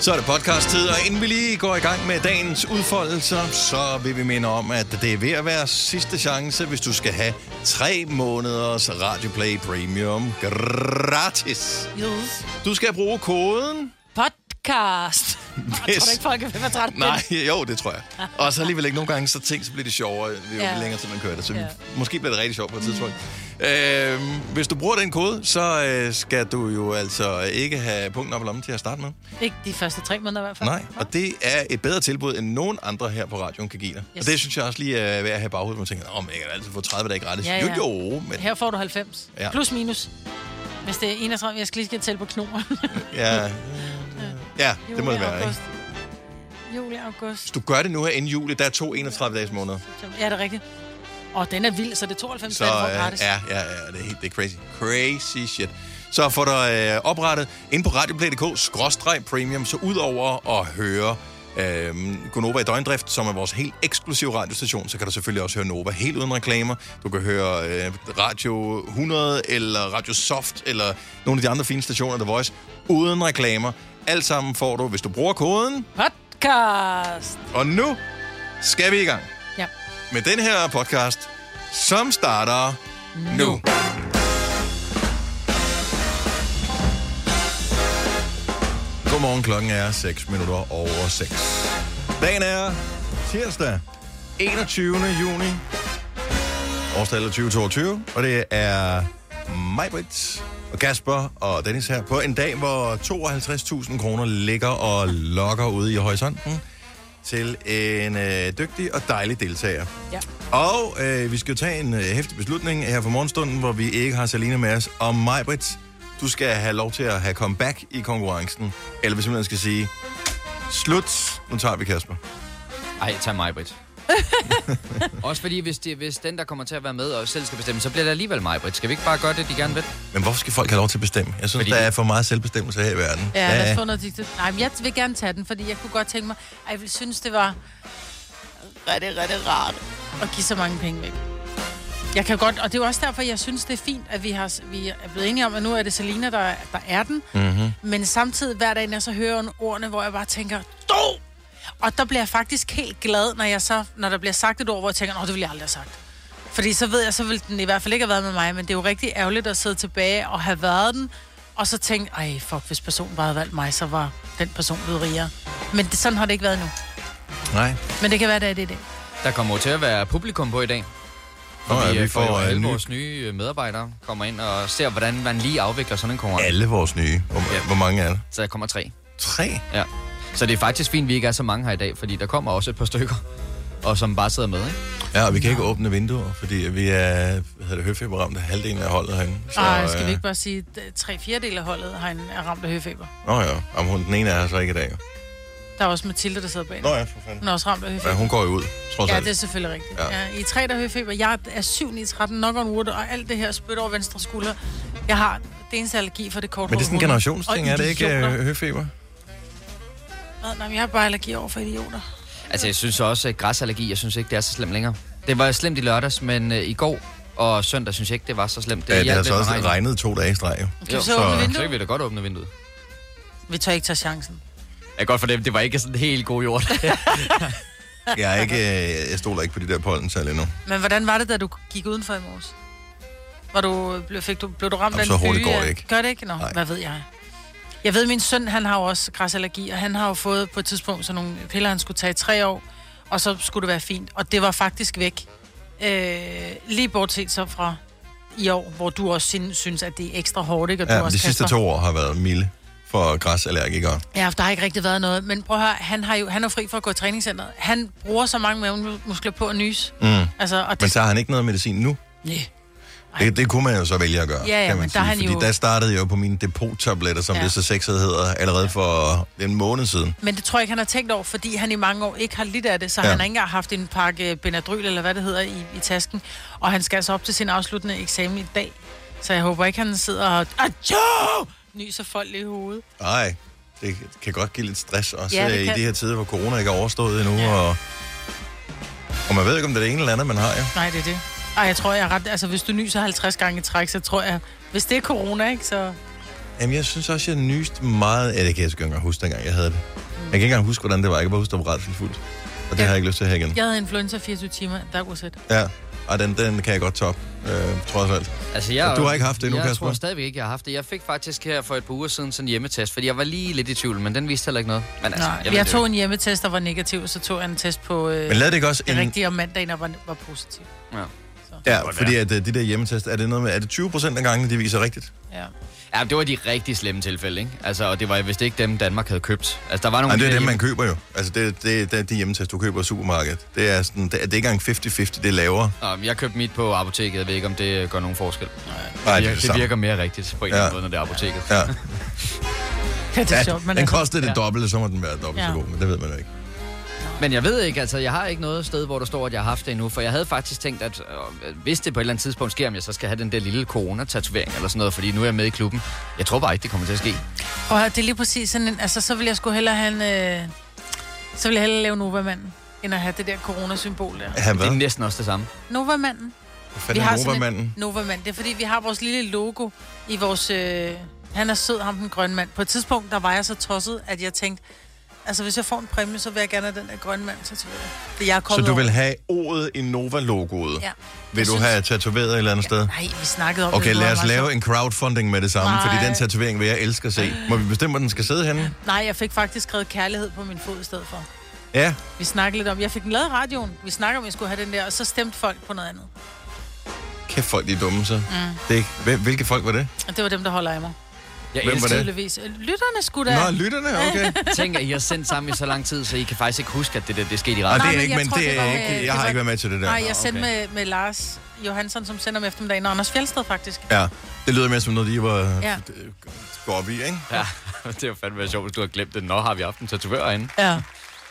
Så er det podcast-tid, og inden vi lige går i gang med dagens udfoldelser, så vil vi minde om, at det er ved at være sidste chance, hvis du skal have tre måneders Radioplay Premium gratis. Yes. Du skal bruge koden... Podcast. Jeg tror Hvis- du ikke, folk er træt af Nej, jo, det tror jeg. Og så alligevel ikke nogle gange, så ting, så bliver det sjovere, jo ja. Mm. Ja. længere til man kører det. Så Ja. måske bliver det rigtig sjovt på et tidspunkt. Øh, hvis du bruger den kode, så øh, skal du jo altså ikke have punkten op i lommen til at starte med. den. Ikke de første tre måneder i hvert fald. Nej, og det er et bedre tilbud, end nogen andre her på radioen kan give dig. Yes. Yes. Og det synes jeg også lige er værd at have i baghovedet, hvor man tænker, om jeg kan altid få 30 dage gratis. Ja, Ja, ja. ja. Jo, jo, men Her får du 90. Ja. Ja. Plus minus. Hvis det er 31, jeg skal lige skal tælle på knoren. ja, øh, ja det må det være, ikke? august. Juli, august. Hvis du gør det nu her inden juli, der er to 31-dages måneder. Ja, det er rigtigt. Og den er vild, så det er 92, Så så, får gratis. øh, ja, ja, ja, det er helt det er crazy. Crazy shit. Så får du øh, oprettet ind på radioplay.dk skråstreg premium, så udover at høre øh, Gonova i døgndrift, som er vores helt eksklusive radiostation, så kan du selvfølgelig også høre Nova helt uden reklamer. Du kan høre øh, Radio 100 eller Radio Soft eller nogle af de andre fine stationer, The Voice, uden reklamer. Alt sammen får du, hvis du bruger koden. Podcast. Og nu skal vi i gang Ja. med den her podcast, som starter nu. nu. Godmorgen, klokken er 6 minutter over 6. Dagen er tirsdag, 21. juni, årstallet er 2022, og det er Majbrit og Kasper og Dennis her på en dag, hvor 52.000 kroner ligger og lokker ude i horisonten til en øh, dygtig og dejlig deltager. Ja. Og øh, vi skal jo tage en øh, hæftig beslutning her for morgenstunden, hvor vi ikke har Selina med os. Og Majbrit, du skal have lov til at have comeback i konkurrencen. Eller vi simpelthen skal sige, slut, nu tager vi Kasper. Ej, tag mig, Britt. Også fordi, hvis, det, hvis den, der kommer til at være med og selv skal bestemme, så bliver det alligevel mig, Britt. Skal vi ikke bare gøre det, de gerne vil? Men hvorfor skal folk have lov til at bestemme? Jeg synes, Fordi Fordi... der de- er for meget selvbestemmelse her i verden. Ja, Der lad er- os få noget digtet. Nej, men jeg vil gerne tage den, fordi jeg kunne godt tænke mig, at jeg ville synes, det var rigtig, rigtig rart at give så mange penge væk. Jeg kan godt, og det er jo også derfor, jeg synes, det er fint, at vi, har, vi er blevet enige om, at nu er det Selina, der, der er den. Mm-hmm. Men samtidig hver dag, når jeg så hører hun ordene, hvor jeg bare tænker, du! Og der bliver jeg faktisk helt glad, når, jeg så, når der bliver sagt et ord, hvor jeg tænker, nå, det ville jeg aldrig have sagt. Fordi så ved jeg, så ville den i hvert fald ikke have været med mig, men det er jo rigtig ærgerligt at sidde tilbage og have været den, og så tænke, ej, fuck, hvis personen bare havde valgt mig, så var den person blevet rigere. Men det, sådan har det ikke været nu. Nej. Men det kan være, det er det i dag. Der kommer jo til at være publikum på i dag. Nå, Og ja, vi øh, jo får øh, alle nye, vores nye øh, medarbejdere kommer ind og ser, hvordan man lige afvikler sådan en konkurrence. alle vores nye. Hvor, Ja. hvor mange er der? Så der kommer tre. Tre? Ja. Så det er faktisk fint, at vi ikke er så mange her i dag, fordi der kommer også et par stykker, og som bare sidder med, ikke? Ja, og vi kan ikke åbne vinduer, fordi vi er hvad hedder det, høfeberramt af halvdelen af holdet herinde. Så, Ej, skal øh, vi ikke bare sige, at tre fjerdedel af holdet har en, er ramt af høfeber. Nå ja, om hun, den ene er her så ikke i dag. jo. Der er også Mathilde, der sidder bag. Nå ja, for fanden. Hun er også ramt af høfeber. Ja, hun går jo ud, trods Ja, alt. det er selvfølgelig rigtigt. Ja. Ja. Ja, I er tre, der har høfeber. Jeg er 7, 9, 13, knock on wood, og alt det her spyt over venstre skulder. Jeg har det eneste allergi for det kort Men det er sådan en generationsting, er det ikke, øh, høfeber? Nej, nej, men jeg har bare allergi over for idioter. Altså, jeg synes også, at græsallergi, jeg synes ikke, det er så slemt længere. Det var slemt i lørdags, men øh, i går og søndag synes jeg ikke, det var så slemt. Ja, det hjalp har lidt så med også regnen. regnet to dage i streg, jo. Kan vi Jo, så så- åbne Så kan vinduet? vi da godt åbne vinduet. Vi tør ikke tage chancen. Jeg godt for dem, det var ikke sådan helt god jord. Jeg, er ikke, øh, jeg stoler ikke på de der pollental endnu. Men hvordan var det, da du gik udenfor i morges? Var du, blev, fik du, blev du ramt Jamen, af så en hurtigt byge? går det ikke. Gør det ikke? Nå, Nej. Nej. hvad ved jeg? Jeg ved, min søn, han har jo også græsallergi, og han har jo fået på et tidspunkt sådan nogle piller, han skulle tage i tre år, og så skulle det være fint. Og det var faktisk væk. Øh, lige bortset så fra i år, hvor du også syn- synes, at det er ekstra hårdt, ikke? Og Ja, du også de sidste kaster- to år har været milde for græsallergikere. Ja, for der har ikke rigtig været noget. Men prøv at høre, han, har jo, han er fri for at gå i træningscenteret. Han bruger så mange mavemuskler på at nys. Mm. Altså, og det, Men så har han ikke noget medicin nu. Næh. Det, det kunne man jo så vælge at gøre, Ja, ja, kan man men der sige. er han Fordi jo- der startede jeg jo på mine depot-tabletter, som ja. Ja. det så sexet hedder, allerede for en måned siden. Men det tror jeg ikke, han har tænkt over, fordi han i mange år ikke har lidt af det, så Ja. ja. han har ikke engang haft en pakke Benadryl, eller hvad det hedder, i, i tasken. Og han skal altså op til sin afsluttende eksamen i dag. Så jeg håber ikke, han sidder og... Adjo! Nyser folk i hovedet. Nej, det kan godt give lidt stress, også Ja, ja, det i kan. de her tider, hvor corona ikke er overstået endnu. Ja. Ja. Og, og man ved ikke, om det er det ene eller andet, man har, jo. Nej, det er det. Mm. Ej, jeg tror, jeg er ret... Altså, hvis du nyser 50 gange i træk, så tror jeg... Hvis det er corona, ikke, så... Jamen, jeg synes også, jeg nyste meget... Ja, det kan jeg sgu ikke engang huske, dengang jeg havde det. Jeg kan ikke engang huske, hvordan det var. Jeg kan bare huske, det var rædselfuldt. Og det Ja. har jeg ikke lyst til at have igen. Jeg havde influenza 24 timer, der was it. Ja, og den, den kan jeg godt top, øh, trods alt. Altså, jeg, Og du har ikke haft det endnu, Jeg Kasper? tror stadigvæk ikke, jeg har haft det. Jeg fik faktisk her for et par uger siden sådan en hjemmetest, fordi jeg var lige lidt i tvivl, men den viste heller ikke noget. Men altså, Nej, jeg jeg, ved jeg det tog en hjemmetest, der var negativ, og så tog jeg en test på øh, Men det lad det ikke også... En, rigtige om mandagen, og var, var positiv. jo. Ja. ja, fordi at, øh, de der hjemmetest, er det noget med... Er det 20 procent af gangene, de viser rigtigt? Ja. ja, det var de rigtig slemme tilfælde, ikke? Altså, og det var vist ikke dem, Danmark havde købt. Altså, der var nogle... Nej, det er af de dem, der man køber jo. Altså, det, det, det er de hjemmetest, du køber i supermarkedet. Det er, sådan, det, er- det er ikke engang 50-50, det er lavere. hjem- Nå, jeg købte mit på apoteket, jeg ved ikke, om det øh, gør nogen forskel. Nej, det er virker, det det samme. virker mere rigtigt på en Ja. eller anden måde, når det er apoteket. Ja. Ja, det er sjovt, ja, men den altså, kostede det dobbelte, så må den være dobbelt så Ja. god, men det ved man jo ikke. Men jeg ved ikke, altså jeg har ikke noget sted, hvor der står, at jeg har haft det endnu, for jeg havde faktisk tænkt, at øh, hvis det på et eller andet tidspunkt sker, om jeg så skal have den der lille corona-tatovering eller sådan noget, fordi nu er jeg med i klubben. Jeg tror bare ikke, det kommer til at ske. prøv at høre, det er lige præcis sådan en, altså så vil jeg sgu hellere have en, øh, så vil jeg hellere lave Novamanden, end at have det der coronasymbol der. Han Det er hvad? næsten også det samme. Novamanden. Fandt vi har sådan Nova-manden. en Novamand. Det er fordi, vi har vores lille logo i vores... Øh, han er sød, ham den grønne mand. På et tidspunkt, der var jeg så tosset, at jeg tænkte, altså hvis jeg får en præmie, så vil jeg gerne have den der grønne mand tatoveret. Det jeg er Så kommet du over. vil have ordet i Nova-logoet? Ja. Vil du have tatoveret et eller andet sted? Nej, vi snakkede om Okay, det. lad os var meget lave en crowdfunding med det samme, Nej. fordi Nej. den tatovering vil jeg elske at se. Må vi bestemme, hvor den skal sidde henne? sjovt. Nej, jeg fik faktisk skrevet kærlighed på min fod i stedet for. Ja, Vi snakkede lidt om, jeg fik den lavet i radioen. Vi snakkede om, at jeg skulle have den der, og så stemte folk på noget andet. kæft folk, de er dumme så. Mm. Det er ikke... Hvil- Hvilke folk var det? Og det var dem, der holder af mig. Jeg Hvem var elsker- det? Tydeligvis. Lytterne skulle da... Nå, lytterne, okay. Tænk, at I har sendt sammen i så lang tid, så I kan faktisk ikke huske, at det der det skete i Nej, det retten. Nej, er men ikke, jeg men tror, det det er var, øh, ikke... det Jeg har var- ikke været med til det der. Nej, jeg okay. sendte med, med Lars Johansson, som sender om eftermiddagen, og Anders Fjeldsted faktisk. Ja, det lyder mere som noget, de var ja. Ja. går op i, ikke? Ja, det var fandme sjovt, hvis du har glemt det. Nå, har vi haft en tatovør herinde. Ja.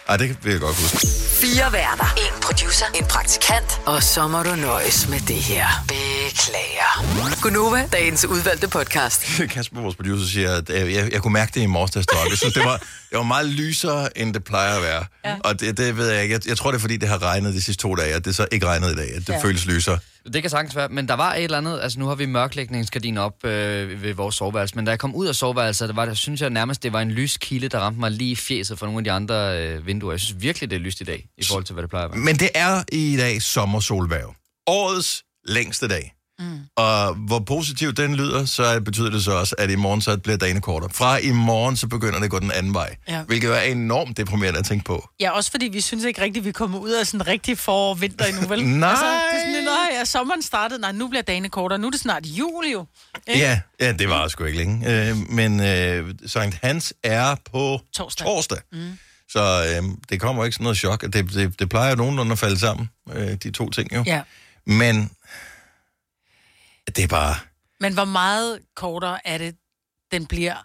Ej, det vil jeg godt huske. Fire værter. En producer. En praktikant. Og så må du nøjes med det her. Beklager. Gunova, dagens udvalgte podcast. Kasper, vores producer, siger, at øh, jeg, jeg kunne mærke det i morges, da jeg stod op. Jeg synes, det var, det var meget lysere, end det plejer at være. Ja. Og det, det ved jeg ikke. Jeg, jeg tror, det er, fordi det har regnet de sidste to dage, at det så ikke regnede i dag, at det ja. føles lysere. Det kan sagtens være, men der var et eller andet, altså nu har vi mørklægningsgardiner op øh, ved vores soveværelse, men da jeg kom ud af soveværelset, der var der, synes jeg nærmest, det var en lyskilde, der ramte mig lige i fjeset fra nogle af de andre øh, vinduer. Jeg synes virkelig, det er lyst i dag, i forhold til, hvad det plejer at være. Men det er i dag sommersolværv. Årets længste dag. Mm. Og hvor positivt den lyder, så betyder det så også, at i morgen så bliver dagen kortere. Fra i morgen, så begynder det at gå den anden vej. Ja. Hvilket er enormt deprimerende at tænke på. ja, også fordi vi synes ikke rigtigt, vi kommer ud af sådan rigtig forår og vinter endnu, vel? Nej. Altså, det er sådan, lidt, nej, ja, sommeren startede, nej, nu bliver dagene kortere, nu er det snart jul jo. Ikke? Ja, ja det var sgu ikke længe. Øh, men øh, Sankt Hans er på Torsdag. torsdag. Mm. Så øh, det kommer ikke sådan noget chok. Det, det, det plejer jo nogenlunde at falde sammen, øh, de to ting jo. Ja. Men det er bare... Men hvor meget kortere er det, den bliver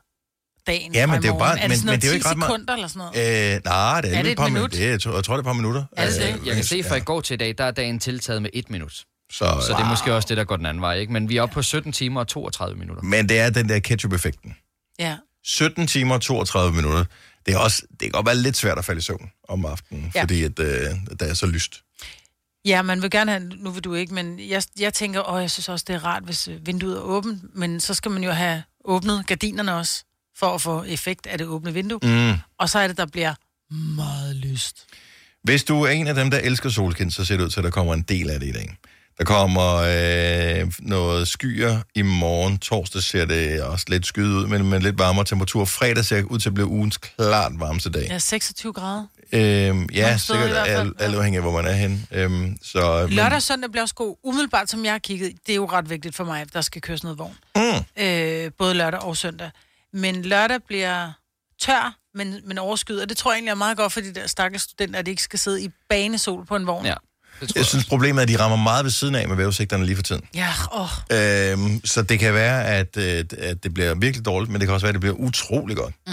dagen Ja, men fra i det er jo morgen? bare- Er men- det men sådan noget det er jo 10 ikke ret meget- sekunder eller sådan noget? Øh, nej, det er, ikke Er det et et par minut? minut. Det, er- jeg tror, jeg tror, det er et par minutter. Er det Øh, det? Jeg kan se fra i ja. går til i dag, der er dagen tiltaget med et minut. Så, Så det er måske også det, der går den anden vej, ikke? Men vi er oppe på 17 timer og 32 minutter. Men det er den der ketchup-effekten. Ja. 17 timer og 32 minutter. Det, er også, det kan godt være lidt svært at falde i søvn om aftenen, ja. Ja. fordi at, øh, der er så lyst. Ja, man vil gerne have, nu vil du ikke, men jeg, jeg tænker, åh, jeg synes også, det er rart, hvis øh, vinduet er åbent, men så skal man jo have åbnet gardinerne også, for at få effekt af det åbne vindue. Mm. Og så er det, der bliver meget lyst. Hvis du er en af dem, der elsker solskin, så ser det ud til, at der kommer en del af det i dag. Der kommer øh, noget skyer i morgen. Torsdag ser det også lidt skyet ud, men med lidt varmere temperatur. Fredag ser ud til at blive ugens klart varmeste dag. Ja, 26 grader. Øhm, ja, Nogle steder sikkert i hvert fald, al- ja. alt afhængig af, hvor man er henne. Øhm, så, men- Lørdag og søndag bliver også god. Umiddelbart, som jeg har kigget, det er jo ret vigtigt for mig, at der skal køres noget vogn. Mm. Øh, både lørdag og søndag. Men lørdag bliver tør, men, men overskyet, og det tror jeg egentlig er meget godt for de der stakkels studenter, at de ikke skal sidde i banesol på en vogn. Ja, det tror Jeg jeg. synes, problemet er, at de rammer meget ved siden af med vejrudsigterne lige for tiden. Ja, åh. Øhm, så det kan være, at, øh, at det bliver virkelig dårligt, men det kan også være, at det bliver utrolig godt. Mm.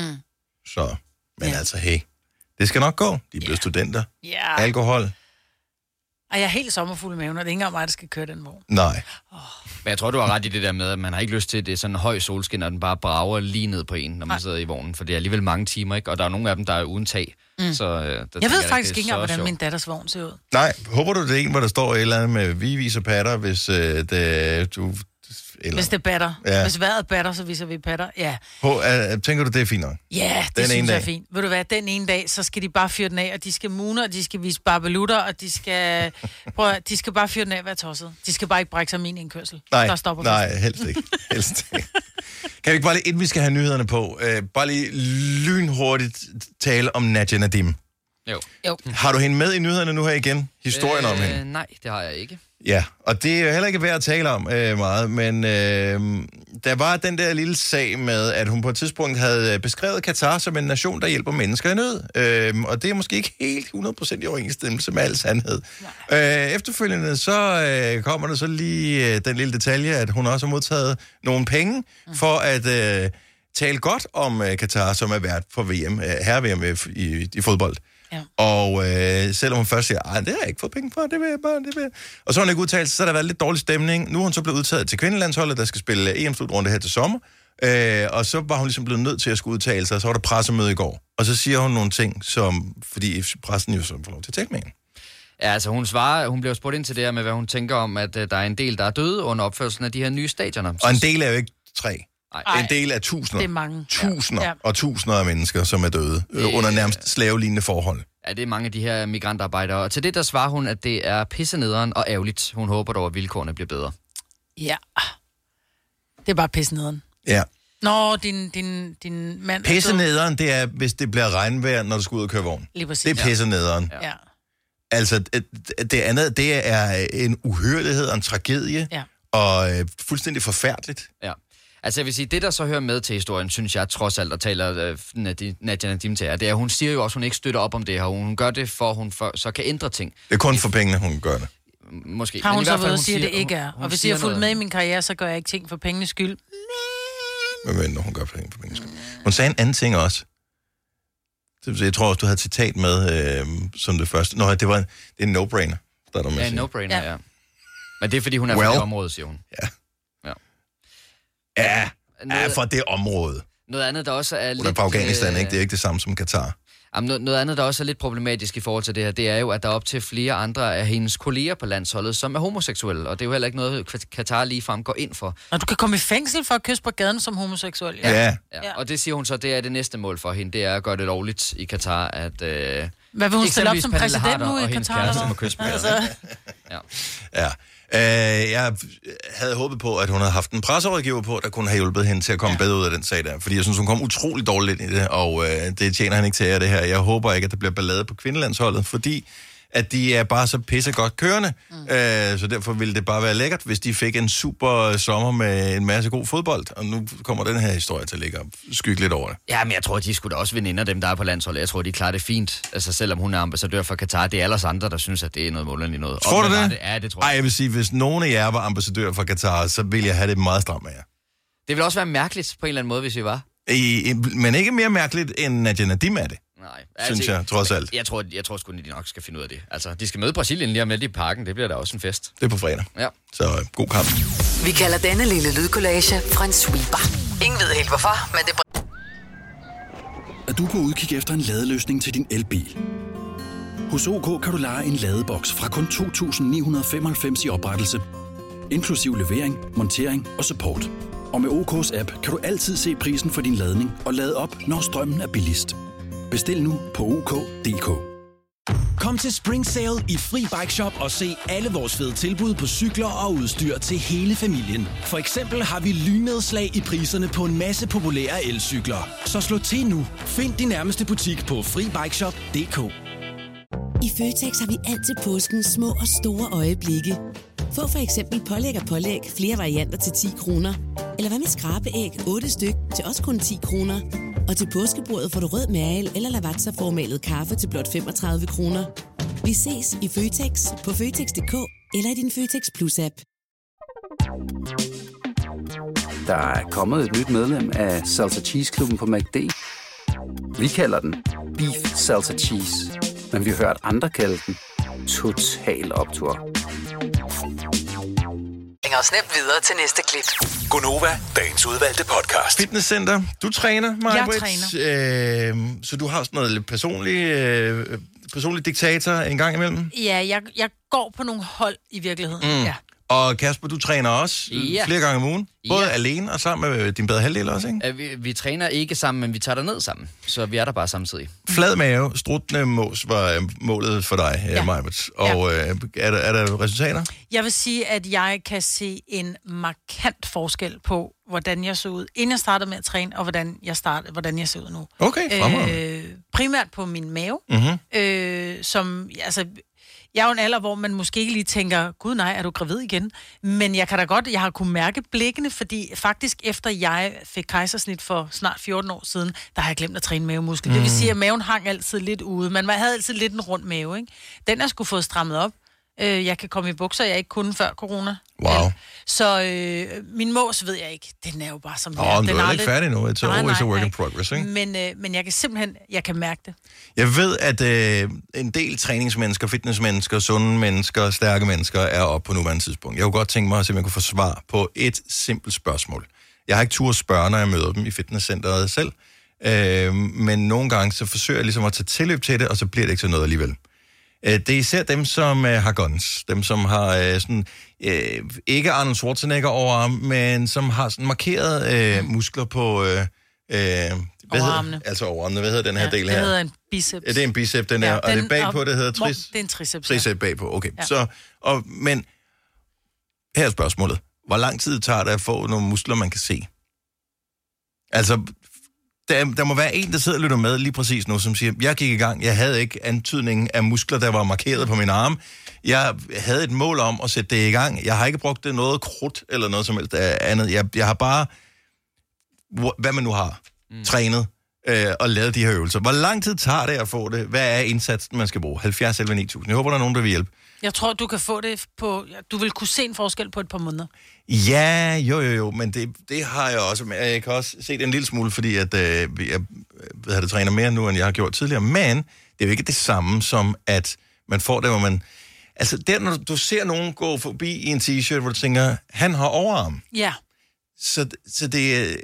Så, men ja. Ja. altså, hey, det skal nok gå. De bliver yeah. studenter. Ja. Alkohol? Og jeg er helt sommerfuld i maven, og det er ikke engang mig, der skal køre den vogn. Nej. Men jeg tror, du har ret i det der med, at man har ikke lyst til, at det er sådan en høj solskin, og den bare brager lige ned på en, når man Nej. sidder i vognen. For det er alligevel mange timer, ikke? Og der er nogle af dem, der er uden tag. Mm. Så, øh, der tænker Jeg ved det faktisk er ikke så engang, hvordan sjovt. min datters vogn ser ud. Nej, håber du, det er en, hvor der står et eller andet med vi viser patter, hvis øh, det, du eller Hvis det batter. Ja. Ja. Hvis vejret batter, så viser vi patter. Ja, På, øh, tænker du, det er fint nok? ja det Den den synes ene jeg er dag. fint. Ved du hvad, den ene dag, så skal de bare fyre den af, og de skal mune, og de skal vise barbelutter, og de skal... Prøv at, høre, de skal bare fyre den af, hvad tosset. De skal bare ikke brække sig min indkørsel. Nej, der stopper vi. nej, helst ikke. Helst ikke. Kan vi ikke bare lige, inden vi skal have nyhederne på, øh, bare lige lynhurtigt tale om Nadia Nadim. Mm. Jo. Jo. Har du hende med i nyhederne nu her igen? Historien øh... om hende? Nej, det har jeg ikke. Ja, og det er jo heller ikke værd at tale om øh, meget, men øh, der var den der lille sag med, at hun på et tidspunkt havde øh, beskrevet Katar som en nation, der hjælper mennesker i nød. Øh, og det er måske ikke helt 100% i overensstemmelse med al sandhed. Øh, efterfølgende så øh, kommer der så lige øh, den lille detalje, at hun også har modtaget nogle penge for at øh, tale godt om øh, Katar, som er vært for VM, øh, herre-VM i, i, i fodbold. Ja. Og øh, selvom hun først siger, at det har jeg ikke fået penge for, det vil jeg bare, det vil jeg. Og så har hun ikke udtalt sig, så har der været lidt dårlig stemning. Nu er hun så blevet udtaget til kvindelandsholdet, der skal spille øh, EM-slutrunde her til sommer. Øh, og så var hun ligesom blevet nødt til at skulle udtale sig, og så var der pressemøde i går. Og så siger hun nogle ting, som, fordi pressen jo så får lov til at tale med hende. Ja, altså hun svarer, hun bliver spurgt ind til det her med, hvad hun tænker om, at øh, der er en del, der er døde under opførelsen af de her nye stadioner. Og en del er jo ikke tre. Ej. En del er tusinder. Det er mange. Tusinder Ja. ja. og tusinder af mennesker, som er døde øh, under nærmest slavelignende forhold. Ja, det er mange af de her migrantarbejdere. Og til det, der svarer hun, at det er pissenederen og ærgerligt. Hun håber dog, at vilkårene bliver bedre. Ja. Det er bare pisse nederen. Ja. Nå, din, din, din mand... er død. Pisse nederen, det er, hvis det bliver regnvejr, når du skal ud og køre vogn. Lige præcis. Det er pisse nederen. Ja. ja. Altså, det- det andet, det er en uhørlighed og en tragedie, Ja. og øh, fuldstændig forfærdeligt. Ja. Altså jeg vil sige, det der så hører med til historien, synes jeg trods alt, og taler øh, Nadi- Nadia Nadim til her, det er, at hun siger jo også, at hun ikke støtter op om det her. Hun gør det, for at hun for, så kan ændre ting. Det er kun for pengene, hun gør det. M- Måske. Har Men hun i så hvert fald, været og sige, at det ikke er? hun- hun og hvis jeg har fulgt med i noget. min karriere, så gør jeg ikke ting for pengenes skyld. Hvad mener du, hun gør for penge- for pengenes skyld? Hun sagde en anden ting også. Det vil sige, Jeg tror også, du havde et citat med øh, som det første. Nå, det var en, det er en no-brainer, starter med Ja, at en sige. no-brainer, ja. Ja. ja. Men det er, fordi hun er well. fra Well. det område, siger hun. Ja, ja, Noget- fra det område. Noget andet, der også er Hun er lidt... fra Afghanistan, øh, ikke? Det er ikke det samme som Katar. Jamen, noget, noget andet, der også er lidt problematisk i forhold til det her, det er jo, at der er op til flere andre af hendes kolleger på landsholdet, som er homoseksuelle, og det er jo heller ikke noget, Kat- Katar ligefrem går ind for. Når du kan komme i fængsel for at kysse på gaden som homoseksuel. Ja. ja. Ja. Ja. Og det siger hun så, det er det næste mål for hende, det er at gøre det lovligt i Katar, at... Øh, Hvad vil hun stille op Eksempelvis som Pernille præsident Harder nu og i hendes Katar? kæreste eller må hvad? kysse på gaden, altså, ja. Ja. Øh, jeg havde håbet på, at hun havde haft en presserådgiver på, der kunne have hjulpet hende til at komme ja. bedre ud af den sag der. Fordi jeg synes, hun kom utrolig dårligt ind i det, og øh, det tjener han ikke til af det her. Jeg håber ikke, at der bliver ballade på kvindelandsholdet, fordi at de er bare så pisse godt kørende. Mm. Øh, så derfor ville det bare være lækkert, hvis de fik en super sommer med en masse god fodbold. Og nu kommer den her historie til at ligge og skygge lidt over det. ja, men jeg tror, de skulle da også veninder, dem der er på landsholdet. Jeg tror, de klarer det fint. Altså, selvom hun er ambassadør for Katar, det er alle os andre, der synes, at det er noget målende noget. Tror Om du man har det? Ja, det tror Ej, jeg. jeg vil sige, hvis nogen af jer var ambassadør for Katar, så ville jeg have det meget stramt med jer. Det ville også være mærkeligt på en eller anden måde, hvis vi var. I, i- men ikke mere mærkeligt, end Nadia Nadim er det. Nej, Altså, Synes jeg, trods alt. Jeg tror, jeg tror sgu, de nok skal finde ud af det. Altså, de skal møde Brasilien lige om lidt i parken. Det bliver da også en fest. Det er på fredag. Ja. Så øh, god kamp. Vi kalder denne lille lydkollage Frans sweeper. Ingen ved helt hvorfor, men det at du kan udkigge efter en ladeløsning til din elbil. Hos OK kan du lege en ladeboks fra kun 2.995 i oprettelse, inklusiv levering, montering og support. Og med OK's app kan du altid se prisen for din ladning og lade op, når strømmen er billigst. Bestil nu på OK.dk. Kom til Spring Sale i Fri Bike Shop og se alle vores fede tilbud på cykler og udstyr til hele familien. For eksempel har vi lynedslag i priserne på en masse populære elcykler. Så slå til nu. Find din nærmeste butik på FriBikeShop.dk I Føtex har vi altid påskens små og store øjeblikke. Få for eksempel pålæg og pålæg flere varianter til 10 kroner. Eller hvad med skrabeæg 8 styk til også kun 10 kroner. Og til påskebordet får du rød mal eller lavatserformalet kaffe til blot 35 kroner. Vi ses i Føtex på Føtex.dk eller i din Føtex Plus-app. Der er kommet et nyt medlem af Salsa Cheese Klubben på MACD. Vi kalder den Beef Salsa Cheese, men vi har hørt andre kalde den Total Optor. bringer os nemt videre til næste klip. Gonova, dagens udvalgte podcast. Fitnesscenter. Du træner, Maja Jeg træner. Øh, så du har sådan noget lidt personlig, øh, personlig diktator en gang imellem? ja, jeg, jeg går på nogle hold i virkeligheden. Mm. Ja. Og Kasper, du træner også Ja. ja. flere gange om ugen. Både Ja. alene og sammen med øh, din bedre halvdel også, ikke? Øh, Vi, vi træner ikke sammen, men vi tager derned sammen. Så vi er der bare samtidig. Flad mave, struttende mås var øh, målet for dig, ja. Majbert. Og øh, er, der, er der resultater? Jeg vil sige, at jeg kan se en markant forskel på, hvordan jeg så ud, inden jeg startede med at træne, og hvordan jeg, startede, hvordan jeg ser ud nu. Okay, fremragende. øh, primært på min mave, Mhm. øh, som, altså, jeg er jo en alder, hvor man måske ikke lige tænker, gud nej, er du gravid igen? Men jeg kan da godt, jeg har kunnet mærke blikkene, fordi faktisk efter jeg fik kejsersnit for snart 14 år siden, der har jeg glemt at træne mavemuskel. Mm. Det vil Mm. sige, at maven hang altid lidt ude. Man var- havde altid lidt en rund mave, ikke? Den har jeg skulle fået strammet op. Øh, jeg kan komme i bukser, jeg ikke kunne før corona. Wow. Så øh, min mås ved jeg ikke. Den er jo bare som den Åh, oh, Den men du er heller aldrig- ikke færdig endnu. It's Nej, always nej, a work nej. in progress, ikke? Men, øh, men jeg kan simpelthen, jeg kan mærke det. Jeg ved, at øh, en del træningsmennesker, fitnessmennesker, sunde mennesker, stærke mennesker er oppe på nuværende tidspunkt. Jeg kunne godt tænke mig, at se, om jeg kunne få svar på et simpelt spørgsmål. Jeg har ikke tur at spørge, når jeg møder dem i fitnesscenteret selv, øh, men nogle gange så forsøger jeg ligesom at tage tilløb til det, og så bliver det ikke så noget alligevel. Øh, Det er især dem, som øh, har guns. Dem, som har øh, sådan, øh, ikke Arnold Schwarzenegger overarm, men som har sådan markeret øh, muskler på... Øh, øh, hvad Overarmene. Hedder, altså overarmene. Hvad hedder den her Ja, del det her? hedder en biceps. Ja, det er en bicep, den ja, er. Og den, det bagpå, det hedder hvor- tris, Det er en triceps. ja. tricep bagpå. Okay, Ja. ja. så... Og, men her er spørgsmålet. Hvor lang tid tager det at få nogle muskler, man kan se? Altså, der, der må være en, der sidder og lytter med lige præcis nu, som siger, jeg gik i gang, jeg havde ikke antydningen af muskler, der var markeret på min arm. Jeg havde et mål om at sætte det i gang. Jeg har ikke brugt det noget krudt eller noget som helst øh, andet. Jeg, jeg har bare, hvor- hvad man nu har, mm. trænet øh, og lavet de her øvelser. Hvor lang tid tager det at få det? Hvad er indsatsen, man skal bruge? 70 eller 9000. Jeg håber, der er nogen, der vil hjælpe. Jeg tror, du kan få det på... Du vil kunne se en forskel på et par måneder. Ja, jo, jo, jo, men det, det har jeg også. Men jeg kan også se det en lille smule, fordi at, øh, jeg ved, at jeg træner mere nu, end jeg har gjort tidligere. Men det er jo ikke det samme som, at man får det, hvor man... Altså, der, når du ser nogen gå forbi i en t-shirt, hvor du tænker, han har overarm. Ja. Så, så det, øh,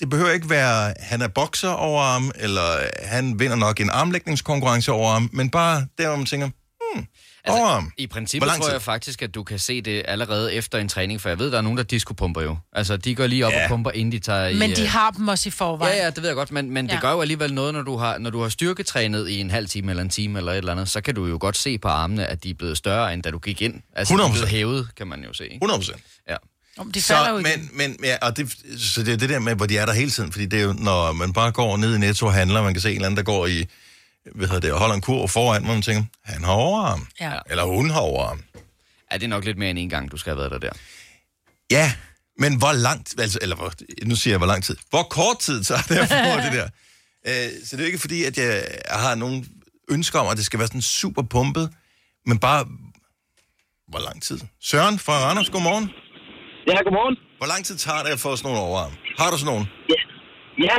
det behøver ikke være, han er bokser overarm, eller han vinder nok en armlægningskonkurrence overarm, men bare der, hvor man tænker, hmm, altså, overarm. I Hvor princippet lang tror tid? jeg faktisk, at du kan se det allerede efter en træning, for jeg ved, der er nogen, der diskopumper jo. Altså, de går lige op ja. og pumper, inden de tager i... Men de øh, har dem også i forvejen. Ja, ja, det ved jeg godt, men, men ja. Ja. det gør jo alligevel noget, når du, har, når du har styrketrænet i en halv time eller en time eller et eller andet, så kan du jo godt se på armene, at de er blevet større, end da du gik ind. Altså, de er 100%. blevet hævet, kan man jo se. Ikke? 100 procent. Ja. Om de falder jo igen. men, men, ja, og det, så det er det der med, hvor de er der hele tiden, fordi det er jo, når man bare går ned i Netto og handler, man kan se en eller anden, der går i, hvad hedder det, og holder en kurv foran, hvor man tænker, han har overarm. Ja. Eller hun har overarm. ja, det er nok lidt mere end en gang, du skal have været der der. Ja, men hvor langt, altså, eller hvor, nu siger jeg, hvor lang tid. Hvor kort tid tager det at få det der? Øh, så det er jo ikke fordi, at jeg har nogen ønsker om, at det skal være sådan super pumpet, men bare, hvor lang tid? Søren fra Randers, godmorgen. Ja, godmorgen. Hvor lang tid tager det at få sådan nogle overarm? Har du sådan nogle? Ja,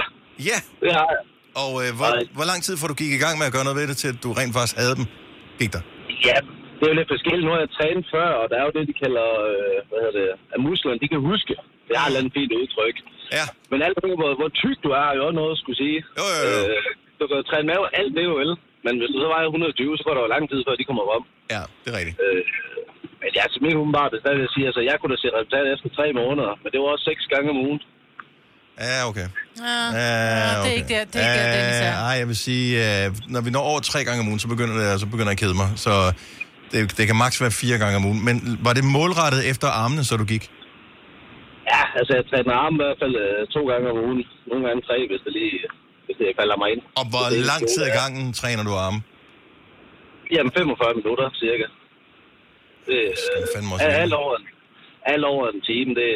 Ja. det har jeg. Og øh, hvor, hvor lang tid får du gik i gang med at gøre noget ved det, til at du rent faktisk havde dem? Gik der? Ja, det er jo lidt forskelligt. Nu har jeg trænet før, og der er jo det, de kalder, øh, hvad hedder det, at musklerne, de kan huske. Det har et eller andet fint udtryk. Ja. Men alt det, hvor, hvor tyk du er, er jo også noget at skulle sige. Jo, jo, jo. Øh, du kan jo træne mave alt det er jo vel. Men hvis du så vejer 120, så går der jo lang tid, før de kommer op. Ja, det er rigtigt. Øh, men jeg er altså simpelthen umiddelbart, det er stadig, jeg siger, så jeg kunne da se resultatet efter tre måneder. Men det var også seks gange om ugen. Ja, okay. Ja, Ja, ja, Ah, det er Ah, okay. ikke der, det er ikke der, Dennis Ja, er. Ej, jeg vil sige, øh, når vi når over tre gange om ugen, så begynder, det, så begynder jeg at kede mig. Så det, det kan maks være fire gange om ugen. Men var det målrettet efter armene, så du gik? Ja, altså jeg træner arme i hvert fald øh, to gange om ugen. Nogle gange tre, hvis det lige hvis det falder mig ind. Og hvor Det er lang det, tid det i er. gangen træner du arme? Jamen 45 minutter, cirka. Det, øh, fandme også er længe. alt over, en- alt over en time, det,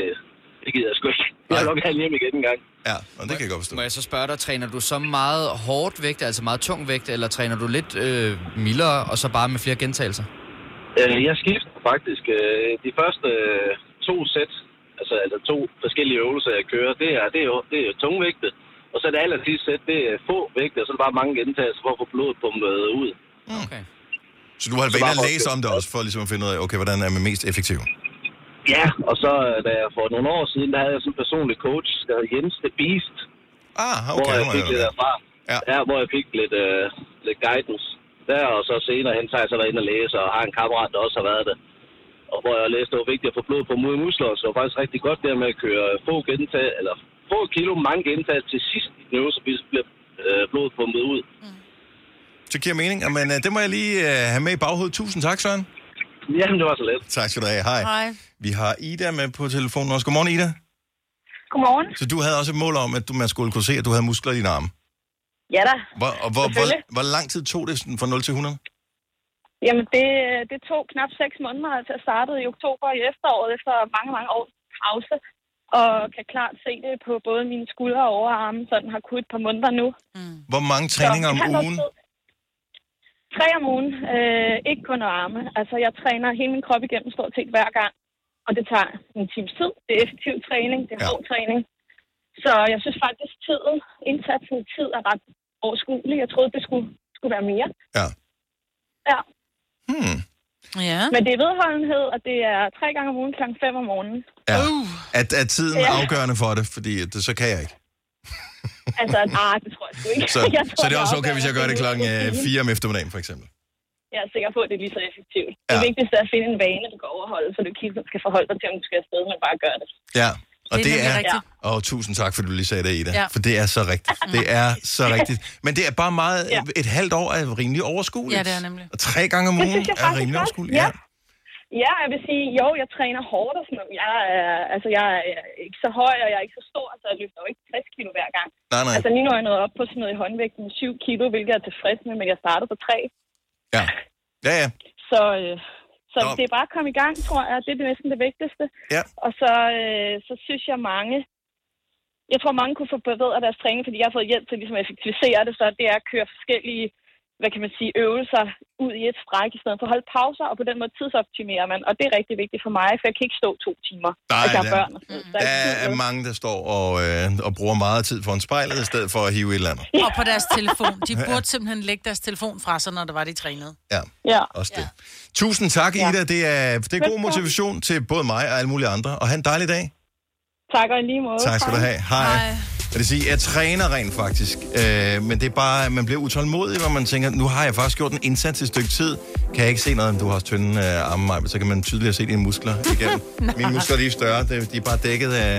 det gider jeg sgu ikke. Jeg vil nok have hjem igen en gang. Ja, og det kan jeg godt forstå. Må jeg så spørge dig, træner du så meget hårdt vægt, altså meget tung vægt, eller træner du lidt øh, mildere, og så bare med flere gentagelser? Øh, jeg skifter faktisk øh, de første øh, to sæt, altså, altså to forskellige øvelser, jeg kører. Det er, det er, jo- det er jo tungvægte. Og så det aller sidste sæt, det er få vægte, og så er det bare mange gentagelser for at få blodet pumpet ud. Okay. Så du har været inde og læse om det også, for ligesom at finde ud af, okay, hvordan er man mest effektiv? Ja, og så øh, da jeg for nogle år siden, der havde jeg sådan en personlig coach, der hed Jens The Beast, Ah, hvor okay. jeg nu er fik det med. derfra. Ja. Ja. ja. hvor jeg fik lidt, øh, lidt guidance der, og så senere hen, så har jeg så været inde og læse, og har en kammerat, der også har været det. og hvor jeg læste, at det var vigtigt at få blod på mod muskler, så det var faktisk rigtig godt der med at køre få gentag, eller få kilo mange gentag til sidst i den øvelse, hvis bliver øh, blodet pumpet ud. Det giver mening, men øh, det må jeg lige øh, have med i baghovedet. Tusind tak, Søren. Jamen, det var så let. Tak skal du have. Hej. Hej. Vi har Ida med på telefonen også. Godmorgen, Ida. Godmorgen. Så du havde også et mål om, at du, man skulle kunne se, at du havde muskler i dine arme. Ja da. Hvor, og hvor, Selvfølgelig. hvor, hvor lang tid tog det sådan fra 0 til 100? Jamen, det, det tog knap seks måneder, altså jeg startede i oktober i efteråret efter mange, mange års pause, og kan klart se det på både mine skuldre og overarme, så den har kunnet et par måneder nu. Hvor mange træninger om Så, det har noget ugen? tid. Tre om ugen, øh, ikke kun arme. Altså, jeg træner hele min krop igennem stort set hver gang, og det tager en times tid. Det er effektiv træning, det er Ja. ja. hård træning. Så jeg synes faktisk, tiden, indsatsen i tid er ret overskuelig. Jeg troede, det skulle, skulle være mere. Ja. Ja. Hmm. Ja. Men det er vedholdenhed, og det er tre gange om ugen kl. 5 om morgenen. Ja. Uh. At, at tiden er Ja. afgørende for det, fordi at det, så kan jeg ikke. Altså, ah, det tror jeg sgu ikke. Så, jeg så det er også okay, afgørende, hvis jeg gør det at klokken er øh, rutinen. 4 om eftermiddagen, for eksempel. Jeg er sikker på, at det er lige så effektivt. Ja. Ja. Det vigtigste er at finde en vane, du kan overholde, så du ikke hele tiden skal forholde dig til, om du skal afsted, men bare gør det. Ja, og Det det er nemlig er... rigtigt. Og tusind tak, fordi du lige sagde det, Ida. Ja. For det er så rigtigt. Det er så rigtigt. Men det er bare meget... Ja. Et halvt år er rimelig overskueligt. Ja, det er nemlig. Og tre gange om Det ugen synes jeg er faktisk rimelig også. overskueligt. Ja. Ja, jeg vil sige, jo, jeg træner hårdt og sådan noget. Jeg er, altså, jeg er ikke så høj, og jeg er ikke så stor, så jeg løfter jo ikke 60 kilo hver gang. Nej, nej. Altså, lige nu er jeg nået op på sådan noget i håndvægten med 7 kilo, hvilket jeg er tilfreds med, men jeg startede på 3. Ja, ja. ja. Så, øh, så Nå. det er bare at komme i gang, tror jeg. Det er det næsten det vigtigste. Ja. Og så, øh, så synes jeg mange... Jeg tror, mange kunne forbedre deres træning, fordi jeg har fået hjælp til ligesom, at effektivisere det, så det er at køre forskellige hvad kan man sige, øvelser ud i et stræk, i stedet for at holde pauser, og på den måde tidsoptimerer man. Og det er rigtig vigtigt for mig, for jeg kan ikke stå to timer, Nej, at jeg har det er- børn og sådan noget. Så Der jeg kan er ikke- mange, der står og, øh, og bruger meget tid foran spejlet, i stedet for at hive et eller andet. Og på deres telefon. De burde simpelthen lægge deres telefon fra sig, når det var, de trænede. Ja, Ja. også det. Tusind tak, Ida. Det er, det er god Velkommen. motivation til både mig og alle mulige andre. Og have en dejlig dag. Tak og i lige måde. Tak skal du Hej. have. Hej. Hej. Jeg vil sige, jeg træner rent faktisk, øh, men det er bare, man bliver utålmodig, når man tænker, nu har jeg faktisk gjort en indsats i et stykke tid, kan jeg ikke se noget, om du har også tynde øh, arme mig, men så kan man tydeligt se dine muskler igennem. Mine muskler, de er større, de, de er bare dækket af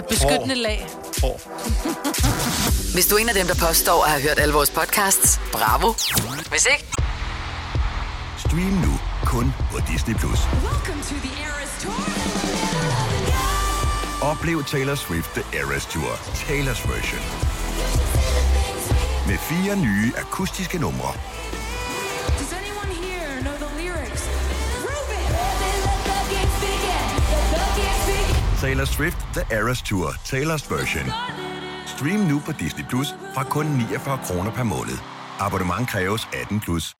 Et beskyttende lag. hår. Hvis du er en af dem, der påstår at have hørt alle vores podcasts, bravo. Hvis ikke, Stream nu kun på Disney+. Plus. Oplev Taylor Swift The Eras Tour, Taylor's version. Med fire nye akustiske numre. Taylor Swift The Eras Tour, Taylor's version. Stream nu på Disney Plus fra kun 49 kroner per måned. Abonnement kræves 18 plus.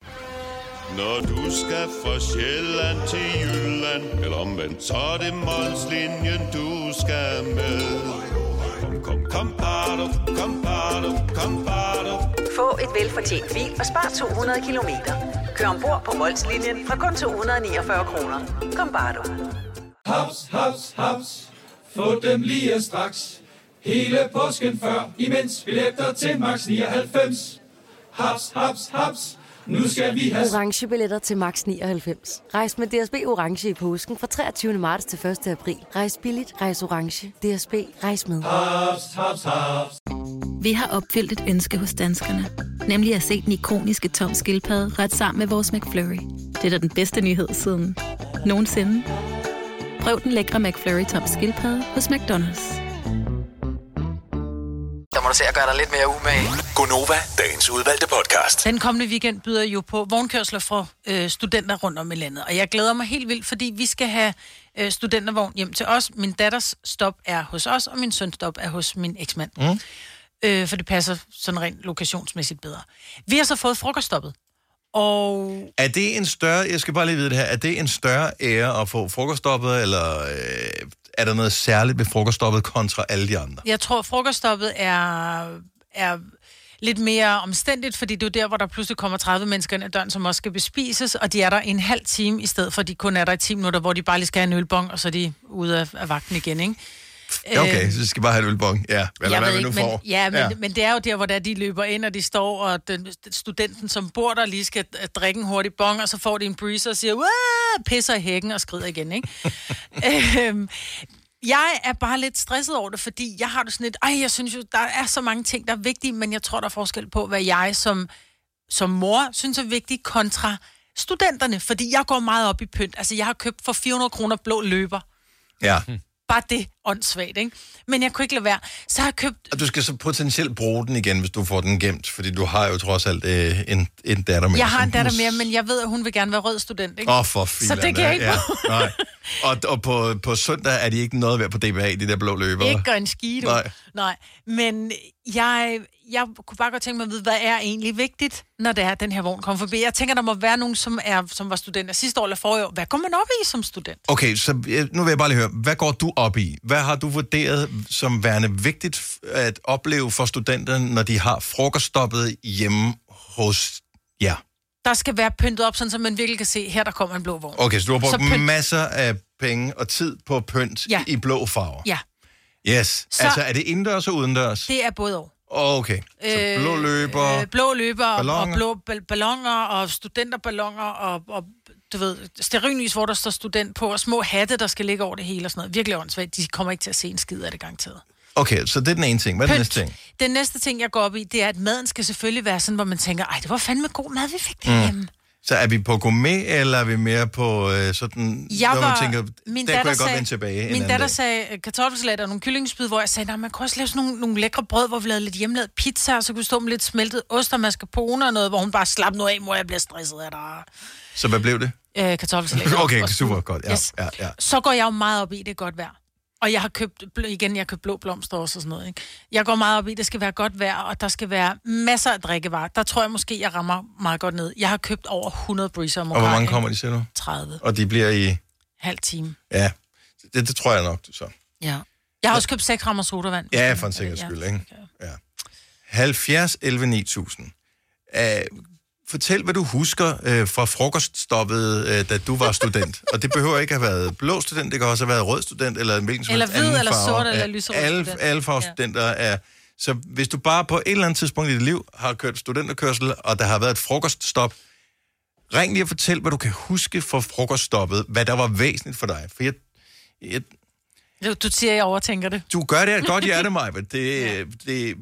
Når du skal fra Sjælland til Jylland, eller omvendt, så er det Molslinjen, du skal med. Kom, kom, kom, bado, kom, bado, kom, bado. Få et velfortjent bil og spar 200 kilometer. Kør ombord på Molslinjen fra kun 249 kroner. Kom bare du. Haps, haps, haps. Få dem lige straks. Hele påsken før, imens billetter til max 99. Haps, haps, haps. Nu skal vi have... orange billetter til max 99. Rejs med DSB orange i påsken fra 23. marts til 1. april. Rejs billigt, rejs orange. DSB rejs med. Haps, haps, haps. Vi har opfyldt et ønske hos danskerne. Nemlig at se den ikoniske tom skildpadde ret sammen med vores McFlurry. Det er da den bedste nyhed siden nogensinde. Prøv den lækre McFlurry tom skildpadde hos McDonald's. der må du se at gøre dig lidt mere umage. Gonova, dagens udvalgte podcast. Den kommende weekend byder jo på vognkørsler for øh, studenter rundt om i landet. Og jeg glæder mig helt vildt, fordi vi skal have øh, studentervogn hjem til os. Min datters stop er hos os, og min søns stop er hos min eksmand. Mm. Øh, for det passer sådan rent lokationsmæssigt bedre. Vi har så fået frokoststoppet. Og Er det en større, jeg skal bare lige vide det her, er det en større ære at få frokoststoppet, eller øh, er der noget særligt ved frokoststoppet kontra alle de andre? Jeg tror, frokoststoppet er, er lidt mere omstændigt, fordi det er jo der, hvor der pludselig kommer 30 mennesker ind ad døren, som også skal bespises, og de er der en halv time, i stedet for at de kun er der i 10 minutter, hvor de bare lige skal have en ølbong, og så er de ude af, af vagten igen, ikke? Ja, okay, Øh, så skal vi bare have et ølbong. Ja, eller jeg hvad ved vi nu ikke, men, får. Ja, men, ja. men det er jo der, hvor der de løber ind, og de står, og den, studenten, som bor der, lige skal øh, drikke en hurtig bong, og så får de en breezer og siger, Wah! pisser i hækken og skrider igen, ikke? øhm, jeg er bare lidt stresset over det, fordi jeg har det sådan lidt, ej, jeg synes jo, der er så mange ting, der er vigtige, men jeg tror, der er forskel på, hvad jeg som, som mor synes er vigtigt, kontra studenterne, fordi jeg går meget op i pynt. Altså, jeg har købt for 400 kroner blå løber. Ja. Bare det, åndssvagt, ikke? Men jeg kunne ikke lade være. Så har jeg købt Og du skal så potentielt bruge den igen, hvis du får den gemt, fordi du har jo trods alt øh, en, en datter med. Jeg har en som datter hus- mere, men jeg ved, at hun vil gerne være rød student, ikke? Åh, oh, for filan. Så det kan jeg ikke ja, bruge. nej. Og, og på, på søndag er de ikke noget værd på DBA, de der blå løbere. Ikke gør en skide. Nej. Nej. Nej. Men jeg, jeg kunne bare godt tænke mig at vide, hvad er egentlig vigtigt, når det er, at den her vogn kommer forbi. Jeg tænker, der må være nogen, som, er, som var studenter sidste år eller forrige år. Hvad går man op i som student? Okay, så øh, nu vil jeg bare lige høre, hvad går du op i? Hvad har du vurderet som værende vigtigt f- at opleve for studenterne, når de har frokoststoppet hjemme hos jer? Der skal være pyntet op, sådan, så man virkelig kan se, her der kommer en blå vogn. Okay, så du har brugt pynt- masser af penge og tid på pynt ja. Ja. i blå farver. Ja, Yes. Så... Så- Altså, er det indendørs og udendørs? det er både og. Okay, så blå løber... Øh, blå løber og- balloner. og blå bal- ballonger og studenterballoner og, og du ved, sterinlys, hvor der står student på, og små hatte, der skal ligge over det hele og sådan noget. Virkelig åndssvagt. De kommer ikke til at se en skid af det garanteret. Okay, så det er den ene ting. Hvad er den Pynt. næste ting? Den næste ting, jeg går op i, det er, at maden skal selvfølgelig være sådan, hvor man tænker, ej, det var fandme god mad, vi fik derhjemme. Mm. Så er vi på gourmet, eller er vi mere på øh, sådan, Jeg hvor man var- tænker, min der datter kunne jeg godt sagde- vende tilbage en Min anden datter dag. sagde øh, kartoffelsalat og nogle kyllingespyd, hvor jeg sagde, nej, man kan også lave sådan nogle, nogle lækre brød, hvor vi lavede lidt hjemmelavet pizza, og så kunne vi stå med lidt smeltet ost og mascarpone og noget, hvor hun bare slap noget af, mor, jeg bliver stresset af dig. Så hvad blev det? Øh, kartoffelsalat. Okay, Og- super godt. Ja, Yes. ja, ja. Så går jeg jo meget op i, det er godt vejr. Og jeg har købt, bl- igen, jeg har købt blå blomster også og sådan noget, ikke? Jeg går meget op i, det skal være godt vejr, og der skal være masser af drikkevarer. Der tror jeg måske, jeg rammer meget godt ned. Jeg har købt over 100 breezer om Og hvor året, mange ikke? kommer de til nu? 30. Og de bliver i... Halv time. Ja, det, det tror jeg nok, så. Ja. Jeg har også købt 6 rammer sodavand. Ja, for en sikkerheds Ja. skyld, ikke? Ja. 70 11 9000. Uh, fortæl, hvad du husker uh, fra frokoststoppet, uh, da du var student. og det behøver ikke at have været blå student, det kan også have været rød student, eller en hvilken som Eller helst hvid, anden eller farve. sort, eller Ja, lyserød alle, student. alle farver studenter er... Så hvis du bare på et eller andet tidspunkt i dit liv har kørt studenterkørsel, og der har været et frokoststop, ring lige og fortæl, hvad du kan huske fra frokoststoppet, hvad der var væsentligt for dig. For jeg, jeg, Du, du siger, jeg overtænker det. du gør det af et godt hjerte, Maja. Det, ja. det,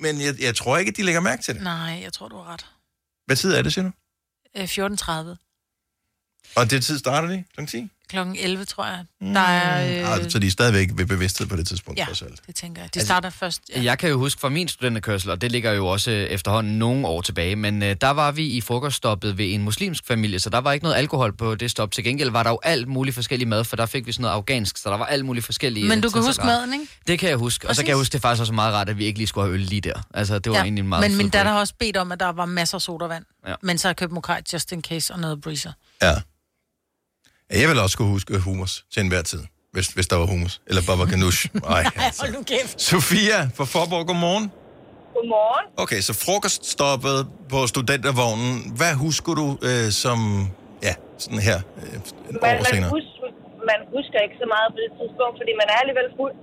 men jeg, jeg tror ikke, at de lægger mærke til det. Nej, jeg tror, du har ret. Hvad tid er det, siger du? Øh, 14.30. Og det tid starter de? Kl. 10? Klokken 11, tror jeg. Mm. Der er... Øh, Øh... Så de er stadigvæk ved bevidsthed på det tidspunkt, ja, ja. trods alt. det tænker jeg. De Altså- starter først Ja. Jeg kan jo huske fra min studenterkørsel, og det ligger jo også øh, efterhånden nogle år tilbage, men øh, der var vi i frokoststoppet ved en muslimsk familie, så der var ikke noget alkohol på det stop. Til gengæld var der jo alt muligt forskellig mad, for der fik vi sådan noget afghansk, så der var alt muligt forskellige... Men du øh, kan huske tilsætninger. maden, ikke? Det kan jeg huske, og så kan jeg huske, det er faktisk også meget rart, at vi ikke lige skulle have øl lige der. Altså, det var ja. egentlig en meget Men fed min break. datter har også bedt om, at der var masser af sodavand. Ja. Ja. Men så har jeg købt mokai just in case og noget breezer. Ja, Jeg vil også kunne huske hummus til enhver tid, hvis, hvis der var hummus. Eller bare var ganoush. Nej. hold nu kæft. Sofia fra Forborg, godmorgen. Godmorgen. Okay, så frokoststoppet på studentervognen. Hvad husker du øh, som... Ja, sådan her. Øh, et Man, år man, senere. husker, man husker ikke så meget på det tidspunkt, fordi man er alligevel fuld.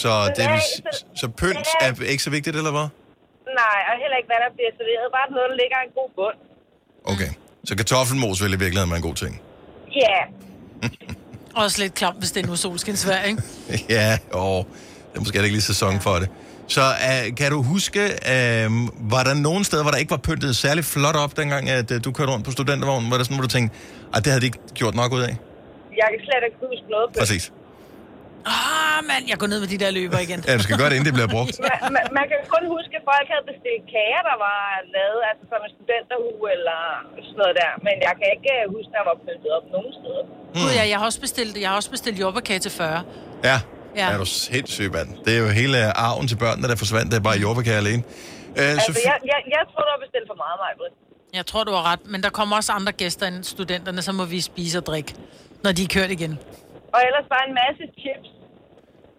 Så, det vil, s- så pynt er ikke så vigtigt, eller hvad? Nej, og heller ikke, hvad der bliver serveret. Bare noget, der ligger en god bund. Okay. Så kartoffelmos vil i virkeligheden være en god ting. Ja. Også lidt klamt, hvis det er nu solskinsvær, ikke? ja, og det er måske ikke lige sæson for det. Så uh, kan du huske, uh, var der nogen steder, hvor der ikke var pyntet særlig flot op, dengang at, uh, du kørte rundt på studentervognen? Var der sådan, hvor du tænkte, at det havde de ikke gjort nok ud af? Jeg kan slet ikke huske noget på det. Præcis. Ah, mand, jeg går ned med de der løber igen. Ja, du skal gøre det, inden det bliver brugt. Man, man, man kan kun huske, at folk havde bestilt kager, der var lavet altså som en studenteruge eller sådan noget der. Men jeg kan ikke øh, huske, at der var pyntet op nogen steder. Gud, ja, jeg har også bestilt, jeg har også bestilt jordbærkage til 40. Ja, ja. Ja. er du sindssyg, mand. Det er jo hele øh, arven til børnene, der forsvandt. Det er bare jordbærkage alene. Uh, Altså, Sofie, jeg, jeg, jeg tror, du har bestilt for meget, Majbrit. Jeg tror, du har ret, men der kommer også andre gæster end studenterne, så må vi spise og drikke, når de er kørt igen. Og ellers bare en masse chips.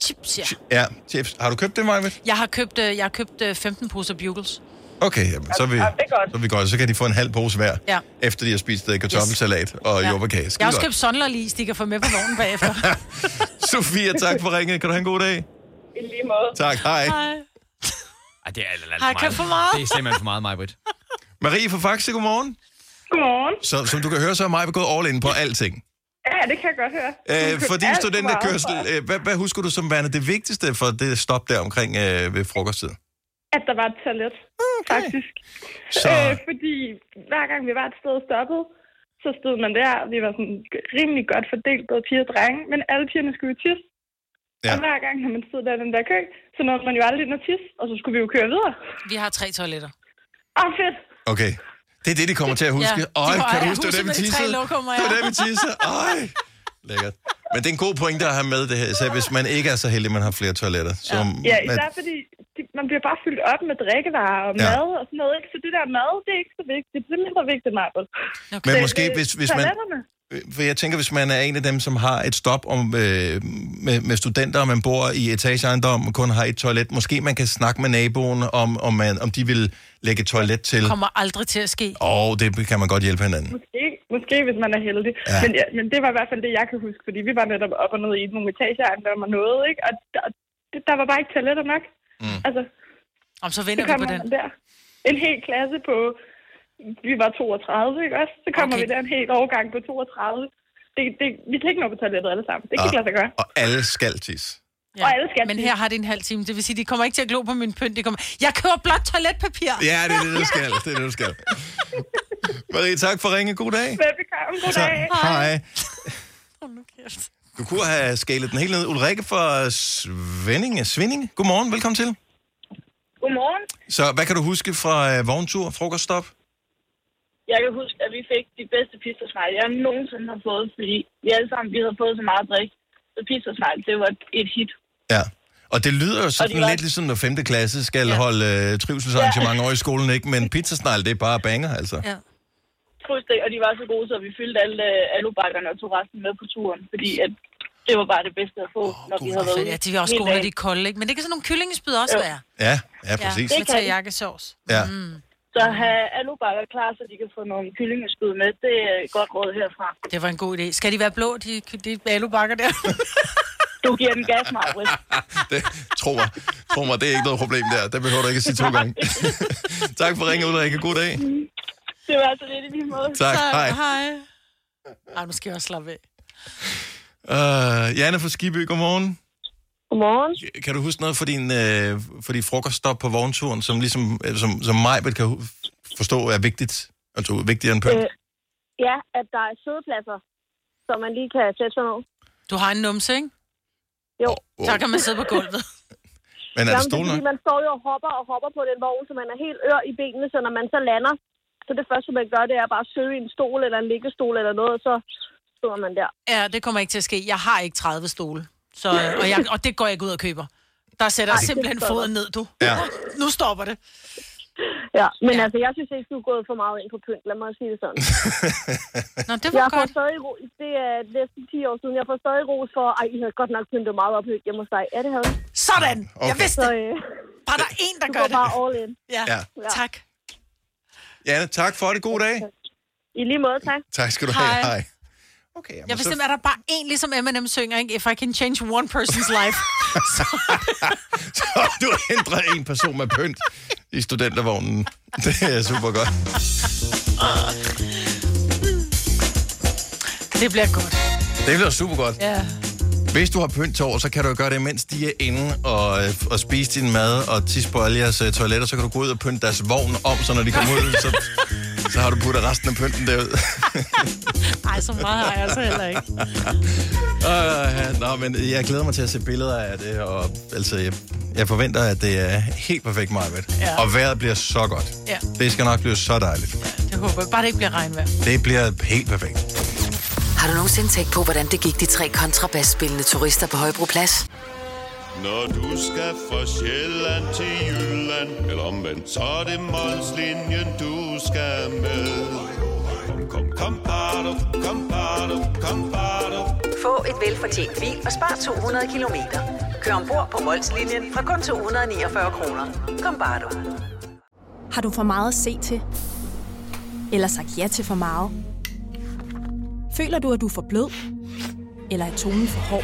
Chips, ja. ja, chips. Har du købt det, Maja? Jeg har købt, øh, jeg har købt øh, 15 poser bugles. Okay, jamen, så, er vi, Ja, det er godt. så er vi godt. Så kan de få en halv pose hver, Ja. efter de har spist øh, kartoffelsalat og Ja. ja. jordbærkage. Jeg Skide har også godt. købt sondlerlis, de kan få med på vognen bagefter. Sofia, tak for ringet. Kan du have en god dag? I lige måde. Tak, hej. Ej, det er alt, alt, alt Har jeg købt for meget? Det er simpelthen for meget, Majbrit. Marie fra Faxe, godmorgen. Godmorgen. Så, som du kan høre, så er mig gået all in på alting. Ja, det kan jeg godt høre. Øh, Hun for din købte alt studenterkørsel, for øh, meget. hvad, hvad husker du som værende det vigtigste for det stop der omkring øh, ved frokosttid? At der var et toilet, faktisk. Så- Øh, fordi hver gang vi var et sted og stoppede, så stod man der, og vi var sådan rimelig godt fordelt, både piger og drenge, men alle pigerne skulle jo tisse. Ja. Og hver gang, når man stod der i den der kø, så nåede man jo aldrig ind og tisse, og så skulle vi jo køre videre. Vi har tre toiletter. Åh, fedt! Okay. Det er det, de kommer til at huske. Ja, de Ja, Øj, går- kan du ja, huske, det var det, huset vi med de tre tissede? lokummer, Det var ja. det, vi tissede. Øj, lækkert. Men det er en god pointe at have med det her, så hvis man ikke er så heldig, at man har flere toiletter. Så, Ja, at, især fordi de, man bliver bare fyldt op med drikkevarer og Ja. mad og sådan noget. Ikke? Så det der mad, det er ikke så vigtigt. Det er mindre vigtigt, Margot. Okay. Men måske, hvis- hvis man- Toiletterne. Øh, for jeg tænker, hvis man er en af dem, som har et stop om, øh, med, med studenter, og man bor i etageejendom og kun har et toilet, måske man kan snakke med naboen, om, om, man, om de vil lægge et toilet til. Kommer aldrig til at ske. Og det kan man godt hjælpe hinanden. Måske, måske, hvis man er heldig. Ja. Ja. Men, ja, men det var i hvert fald det, jeg kan huske, fordi vi var netop op og ned i nogle etageejendomme og noget, ikke? Og der, det- der var bare ikke toiletter nok. Mm. Altså, Om så vinder så vi kommer på den. man der. En hel klasse på, vi var 32, ikke også? Så kommer okay. vi der en hel årgang på 32. Det, det, vi kan ikke nå på toilettet alle sammen. Det kan Ah. ikke lade sig gøre. Og alle skal tisse. Ja. Og alle skal Men her har det en halv time. Det vil sige, de kommer ikke til at glo på min pynt. De kommer, jeg køber blot toiletpapir. Ja, det er det, du skal. Det er det, du skal. Marie, tak for ringe. God dag. Velbekomme. God dag. Hej. Du kunne have skalet den helt ned. Ulrike fra Svendinge. Svindinge. Godmorgen, velkommen til. Godmorgen. Så hvad kan du huske fra øh, vogntur, frokoststop? Jeg kan huske, at vi fik de bedste pizzasnegle, jeg nogensinde har fået, fordi vi alle sammen vi havde fået så meget drik. Så pizzasnegle, det var et hit. Og det lyder jo sådan var- lidt ligesom, når 5. klasse skal ja. holde øh, trivselsarrangement over i skolen, ikke? Men pizzasnegl, det er bare banger, altså. Ja. Fuldstændig, og de var så gode, så vi fyldte alle øh, alubakkerne og tog resten med på turen, fordi at det var bare det bedste at få, oh, når vi havde været altså, Ja, de er også gode, når de er kolde, ikke? Men det kan sådan nogle kyllingespyd også være. Ja, ja Mm. præcis. Ja, med teriyaki-sovs. Ja. Så at have alubakker klar, så de kan få nogle kyllingeskyd med, det er et godt råd herfra. Det var en god idé. Skal de være blå, de, de alubakker der? du giver den gas, Marvind. Det, tro mig. Tro mig, det er ikke noget problem der. Det behøver du ikke at sige to gange. tak for ringe, Ulrike. God dag. Det var altså lidt i lige måde. Tak, hej. hej. Ej, nu skal jeg også slappe af. Uh, Janne fra Skiby, godmorgen. Godmorgen. Kan du huske noget for din, øh, for din frokoststop på vognturen, som, ligesom, øh, som, som mig kan hu- forstå er vigtigt? Altså vigtigere end pynt? Øh, Ja, at der er sædepladser, som man lige kan sætte sig ned. Du har en numse, ikke? Jo. Så kan man sidde på gulvet. Men er der Jamen, det stol nok? fordi, man står jo og hopper og hopper på den vogn, så man er helt ør i benene, så når man så lander, så det første, man gør, det er bare at søge en stol eller en liggestol eller noget, og så sidder man der. Ja, det kommer ikke til at ske. Jeg har ikke 30 stole. Så, og, jeg, og det går jeg ikke ud og køber. Der sætter Ej, Ej, det simpelthen stopper. foden ned, du. Ja. Nu stopper det. Ja, men altså, jeg synes ikke, du er gået for meget ind på pynt, lad mig sige det sådan. Nå, det var jeg godt. Stadig ro- det er næsten 10 år siden, jeg får stadig ros for, ej, I havde godt nok pyntet meget op hjemme hos dig. Ja, det havde I. Sådan! Jeg vidste så, det. øh, Bare der er en, der du gør går det. bare all in. Ja. Ja. tak. Janne, tak for det. God dag. I lige måde, tak. Tak skal du have. Hej. Hej. Jamen, jeg bestemmer, er der bare en, ligesom Eminem synger, ikke? If I can change one person's life. Så, Så du ændrer en person med pynt i studentervognen. Det er super godt. det bliver godt. Det bliver super godt. Ja. Hvis du har pynt til over, så kan du jo gøre det, mens de er inde og, øh, og spise din mad og tisse på alle jeres øh, toiletter. Så kan du gå ud og pynte deres vogn om, så når de kommer ud, så, så har du puttet resten af pynten derud. Ej, så meget har jeg altså heller ikke. Uh, nå, men jeg glæder mig til at se billeder af det, og altså, jeg, jeg forventer, at det er helt perfekt, Marvind. Ja. Og vejret bliver så godt. Ja, Det skal nok blive så dejligt. det håber jeg. Bare det ikke bliver regnvejr. Det bliver helt perfekt. Har du nogensinde tænkt på, hvordan det gik de tre kontrabasspillende turister på Højbroplads? Når du skal fra Sjælland til Jylland Eller omvendt, så er det Molslinjen, du skal med Kom, kom, kom, bado, kom, bado, kom, bado. Få et velfortjent bil og spar 200 kilometer. Kør ombord på Molslinjen fra kun 249 kroner. Kom bare du. Har du for meget at se til? Eller sagt ja til for meget? Føler du, at du er for blød? Eller er tonen for hård?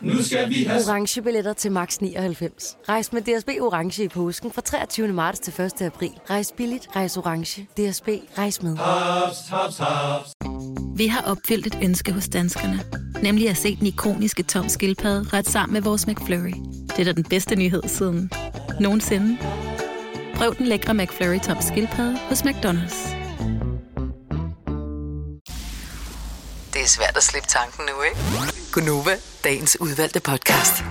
Nu skal vi have... Orange billetter til max 99. Rejs med DSB Orange i påsken fra 23. marts til 1. april. Rejs billigt, rejs orange. DSB, rejs med. Haps, haps, haps. Vi har opfyldt et ønske hos danskerne. Nemlig at se den ikoniske tom skildpadde ret sammen med vores McFlurry. Det er da den bedste nyhed siden nogensinde. Prøv den lækre McFlurry tom skildpadde hos McDonald's. Det er svært at slippe tanken nu, ikke? Gunova, dagens udvalgte podcast.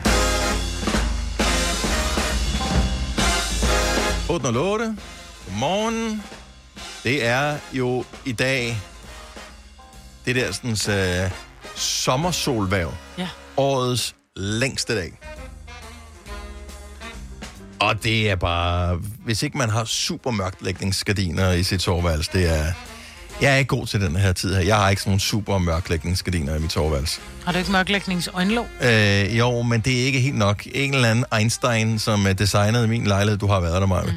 808. Godmorgen. Det er jo i dag det der sådan, uh, sommersolværv. Ja. Årets længste dag. Og det er bare... Hvis ikke man har super mørklægningsgardiner i sit soveværelse, det er... Jeg er ikke god til den her tid her. Jeg har ikke sådan nogle super mørklægningsgardiner i mit soveværelse. Har du ikke mørklægningsøjenlåg? Øh, jo, men det er ikke helt nok. En eller anden Einstein, som øh, designede min lejlighed, du har været der, Maja, mm.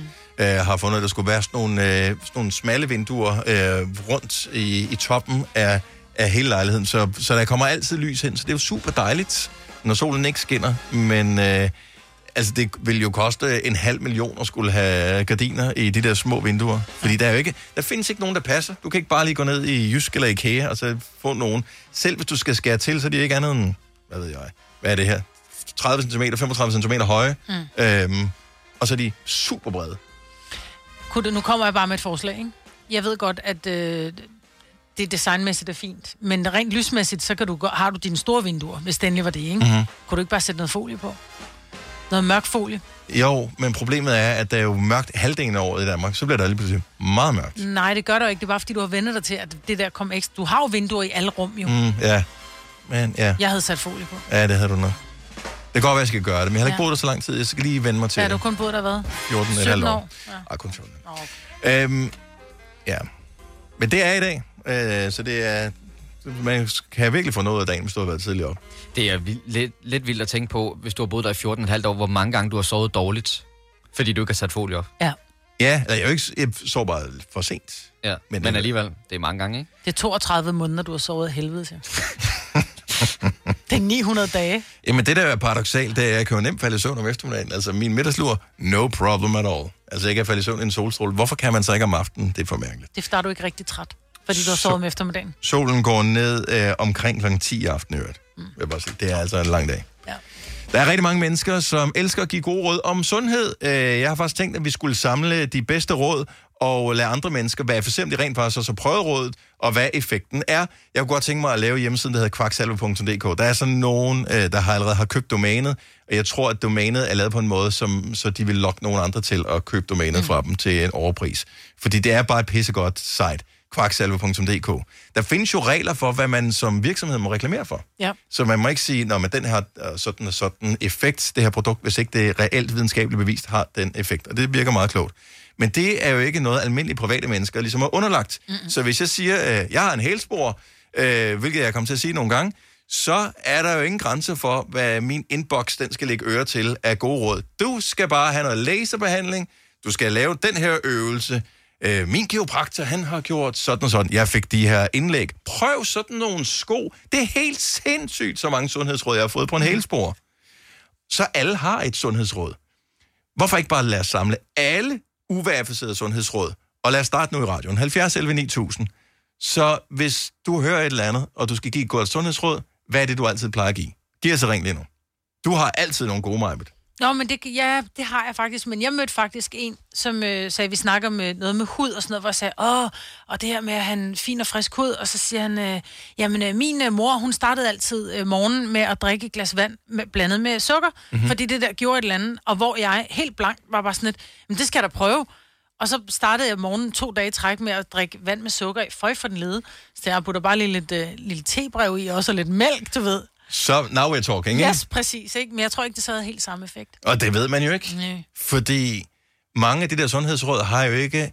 øh, har fundet, at der skulle være sådan nogle, øh, sådan nogle smalle vinduer øh, rundt i, i toppen af, af hele lejligheden, så, så der kommer altid lys hen, så det er jo super dejligt, når solen ikke skinner, men... Øh, Altså, det vil jo koste en halv million at skulle have gardiner i de der små vinduer. Fordi der er jo ikke, der findes ikke nogen, der passer. Du kan ikke bare lige gå ned i Jysk eller Ikea og så få nogen. Selv hvis du skal skære til, så er de ikke andet end, hvad ved jeg, hvad er det her? 30 cm, 35 cm høje. Mm. Øhm, og så er de super brede. Kunne det, nu kommer jeg bare med et forslag, ikke? Jeg ved godt, at øh, det designmæssigt er fint, men rent lysmæssigt, så kan du, gå- har du dine store vinduer, hvis det endelig var det, ikke? Mhm. Kunne du ikke bare sætte noget folie på? Noget mørk folie? Jo, men problemet er, at der er jo mørkt halvdelen af året i Danmark. Så bliver der lige pludselig meget mørkt. Nej, det gør du ikke. Det er bare, fordi du har vendet dig til, at det der kom ekstra. Du har jo vinduer i alle rum, jo. Mm. Mm, ja. Men ja. Jeg havde sat folie på. Ja, det havde du nok. Det kan godt være, jeg skal gøre det, men jeg har ikke Ja. boet der så lang tid. Jeg skal lige vende mig til Ja, du har det. kun boet der, hvad? 14 et 17 halvt år. år. Ja. Ej, kun 14. Okay. Øhm, ja. Men det er i dag, øh, så det er... Man kan virkelig få noget af dagen, hvis du har været tidligere op. Det er vild, lidt, lidt vildt at tænke på, hvis du har boet der i 14,5 år, hvor mange gange du har sovet dårligt, fordi du ikke har sat folie op. Ja. Ja, eller jeg, er jo ikke, jeg sover bare for sent. øh, Ja, men, men alligevel, det er mange gange, ikke? Det er 32 måneder, du har sovet af helvede til. det er 900 dage. Jamen, det der er paradoxalt, det er, at jeg kan jo nemt falde i søvn om eftermiddagen. Altså, min middagslur, no problem at all. Altså, jeg kan falde i søvn i en solstråle. Hvorfor kan man så ikke om aftenen? Det er for mærkeligt. Det er, fordi du er ikke rigtig træt, fordi du har sovet om eftermiddagen. Solen går ned øh, omkring kl. 10 i aften, i øvrigt. Vil jeg bare sige. Det er altså en lang dag. Ja. Der er rigtig mange mennesker, som elsker at give gode råd om sundhed. Øh, Jeg har faktisk tænkt, at vi skulle samle de bedste råd og lade andre mennesker være for eksempel rent faktisk også prøve rådet, og hvad effekten er. Jeg kunne godt tænke mig at lave hjemmesiden, der hedder kvaksalve.dk. Der er sådan nogen, øh, der har allerede har købt domænet, og jeg tror, at domænet er lavet på en måde, som, så de vil lokke nogen andre til at købe domænet mm. fra dem til en overpris. Fordi det er bare et pissegodt site, kvaksalve.dk. Der findes jo regler for, hvad man som virksomhed må reklamere for. Ja. Så man må ikke sige, når den har øh, sådan og sådan effekt, det her produkt, hvis ikke det er reelt videnskabeligt bevist, har den effekt. Og det virker meget klogt. Men det er jo ikke noget, almindelige private mennesker ligesom er underlagt. Mm-hmm. Så hvis jeg siger, øh, jeg har en hælspor, øh, hvilket jeg kommer til at sige nogle gange, så er der jo ingen grænse for, hvad min inbox den skal lægge øre til af gode råd. Du skal bare have noget laserbehandling, du skal lave den her øvelse, øh, min kiropraktor, han har gjort sådan og sådan. Jeg fik de her indlæg. Prøv sådan nogle sko. Det er helt sindssygt, så mange sundhedsråd, jeg har fået på en helspor. Så alle har et sundhedsråd. Hvorfor ikke bare lade os samle alle uverificerede sundhedsråd, og lad os starte nu i radioen. 70 11 9000. Så hvis du hører et eller andet, og du skal give et godt sundhedsråd, hvad er det, du altid plejer at give? Giv os et ring lige nu. Du har altid nogle gode, Majbet. Nå, men det, ja, det har jeg faktisk. Men jeg mødte faktisk en, som øh, sagde, vi snakker med noget med hud og sådan noget, hvor jeg sagde, åh, og det her med, at han fin og frisk hud, og så siger han, øh, jamen øh, min øh, mor, hun startede altid øh, morgenen med at drikke et glas vand med, blandet med sukker, Mhm. mm-hmm. fordi det der gjorde et eller andet, og hvor jeg helt blank var bare sådan lidt, men det skal jeg da prøve. Og så startede jeg morgenen to dage i træk med at drikke vand med sukker i. Føj for den lede. Så jeg putter bare lige lidt øh, lille tebrev i, og så lidt mælk, du ved. Så, now we're talking, ikke? Yes, præcis, ikke? Men jeg tror ikke, det så havde helt samme effekt. Og det ved man jo ikke. Nej. Fordi mange af de der sundhedsråd har jo ikke...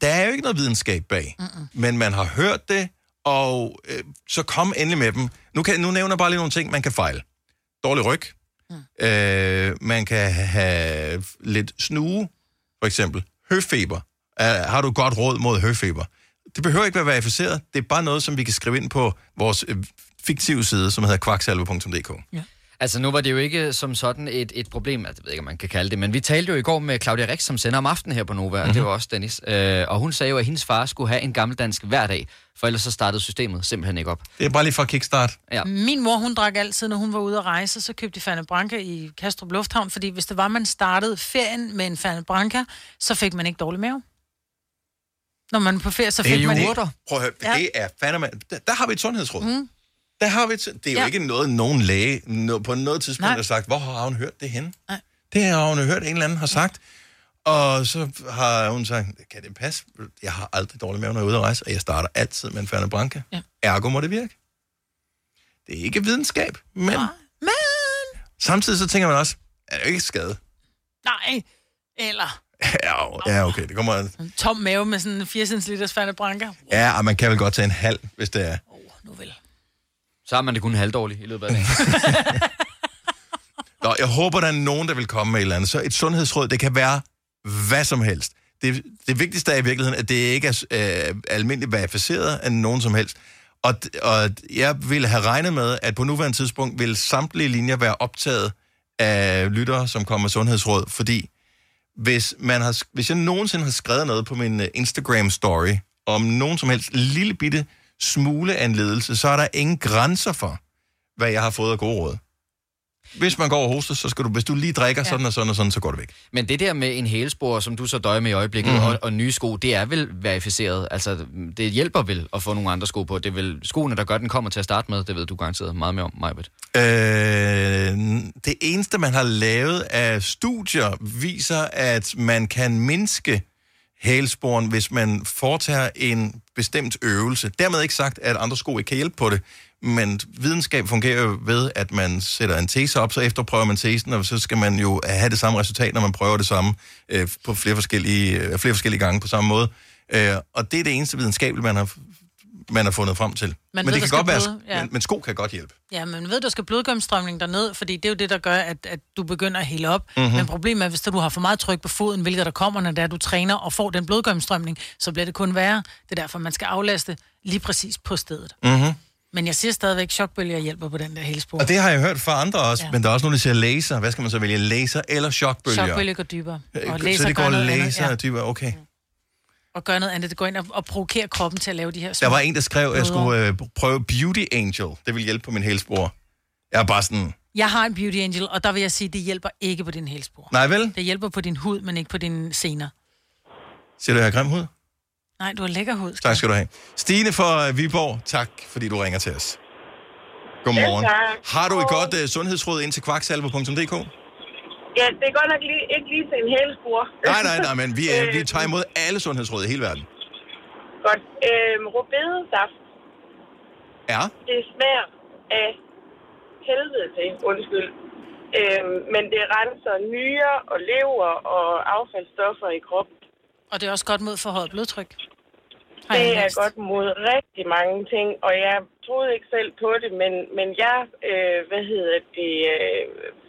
Der er jo ikke noget videnskab bag. Mm-mm. Men man har hørt det, og øh, så kom endelig med dem. Nu, kan, nu nævner jeg bare lige nogle ting, man kan fejle. Dårlig ryg. Mm. Øh, man kan have lidt snue, for eksempel. Høfeber. Øh, har du et godt råd mod høfeber? Det behøver ikke være verificeret. Det er bare noget, som vi kan skrive ind på vores øh, fiktive side, som hedder kvaksalve.dk. Altså, nu var det jo ikke som sådan et, et problem, altså, jeg ved ikke, om man kan kalde det, men vi talte jo i går med Claudia Rix, som sender om aftenen her på Nova, mm-hmm. og det Mhm. var også Dennis. Øh, og hun sagde jo, at hendes far skulle have en gammeldansk hver dag, for ellers så startede systemet simpelthen ikke op. Det er bare lige fra kickstart. Ja. Min mor, hun drak altid, når hun var ude at rejse, så købte de Fanta Branca i Kastrup Lufthavn, fordi hvis det var, man startede ferien med en Fanta Branca, så fik man ikke dårlig mave. Når man er på ferie, så Det er fik jo man det. urter. Prøv at høre, Ja. det er fandme... Der, der har vi et sundhedsråd. Mm. Der har vi et, det er jo Ja. ja. ikke noget, nogen læge no, på noget tidspunkt Nej. Nej. har sagt, hvor har hun hørt det henne? Nej. Det har hun hørt, en eller anden har sagt. Og så har hun sagt, kan det passe? Jeg har aldrig dårlig mave, når jeg er ude at rejse, og jeg starter altid med en Fanta Branca. Ja. Ergo må det virke. Det er ikke videnskab, men... Nej. Men... Samtidig så tænker man også, er det jo ikke skade? Nej, eller ja, o- ja, okay, det kommer... en tom mave med sådan en 80 liters Fanta Branca. Ja, og man kan vel godt tage en halv, hvis det er. Så har man det kun halvdårligt i løbet af dagen. Nå, jeg håber, der er nogen, der vil komme med et eller andet. Så et sundhedsråd, det kan være hvad som helst. Det, det vigtigste er i virkeligheden, at det ikke er øh, almindeligt verificeret af nogen som helst. Og, d- og jeg ville have regnet med, at på nuværende tidspunkt vil samtlige linjer være optaget af lyttere, som kommer med sundhedsråd, fordi hvis, man har, sk- hvis jeg nogensinde har skrevet noget på min øh, Instagram-story om nogen som helst lille bitte smule af en ledelse, så er der ingen grænser for, hvad jeg har fået af gode råd. Hvis man går og hoster, så skal du, hvis du lige drikker ja. sådan og sådan og sådan, så går det væk. Men det der med en hælspor, som du så døjer med i øjeblikket, Mhm. mm-hmm. og, og nye sko, det er vel verificeret. Altså, det hjælper vel at få nogle andre sko på. Det er vel skoene, der gør, at den kommer til at starte med. Det ved du garanteret meget mere om, Majbet. Øh, det eneste, man har lavet af studier, viser, at man kan mindske hælsporen, hvis man foretager en bestemt øvelse. Dermed ikke sagt, at andre sko ikke kan hjælpe på det, men videnskab fungerer jo ved, at man sætter en tese op, så efterprøver man tesen, og så skal man jo have det samme resultat, når man prøver det samme øh, på flere forskellige, øh, flere forskellige gange på samme måde. Øh, og det er det eneste videnskabelige, man har, man har fundet frem til. Man Man men, ved, det der kan skal godt være, bløde, ja. men, men sko kan godt hjælpe. Ja, men ved du, skal blodgennemstrømningen derned, fordi det er jo det, der gør, at, at du begynder at hælde op. Mm-hmm. Mhm. Men problemet er, hvis du har for meget tryk på foden, hvilket der kommer, når det er, du træner og får den blodgennemstrømning, så bliver det kun værre. Det er derfor, man skal aflaste lige præcis på stedet. Mm-hmm. Men jeg siger stadigvæk, chokbølger hjælper på den der hælspor. Og det har jeg hørt fra andre også, Ja. ja. men der er også nogen, der siger laser. Hvad skal man så vælge? Laser eller chokbølger? Chokbølger går dybere. Og Øh, laser så det gør går noget andet, laser ja. Mm. og dybere, okay. Og gør noget andet. Det går ind og, og provokerer kroppen til at lave de her små Der var en, der skrev, at jeg blødere. skulle øh, prøve Beauty Angel. Det ville hjælpe på min hælspor. Jeg er bare sådan, Jeg har en beauty angel, og der vil jeg sige, det hjælper ikke på din hælspor. nej vel? Det hjælper på din hud, men ikke på dine sener. Siger du, jeg har grim hud? Nej, du har lækker hud. Tak skal du have. Stine fra øh, Viborg, tak fordi du ringer til os. Godmorgen. Selv tak. Har du et godt uh, sundhedsråd ind til kvaksalver.dk? Ja, det er godt nok lige, ikke lige til en hælspor. Nej, nej, nej, men vi, Øh, uh, vi tager imod alle sundhedsråd i hele verden. Godt. Øhm, Rubedesaft, Ja, det smager af helvede til, undskyld. Øhm, men det renser nyrer og lever og affaldsstoffer i kroppen. Og det er også godt mod forhøjet blodtryk. Har Det jeg er læst. godt mod rigtig mange ting, og jeg troede ikke selv på det, men, men jeg, øh, hvad hedder det, øh,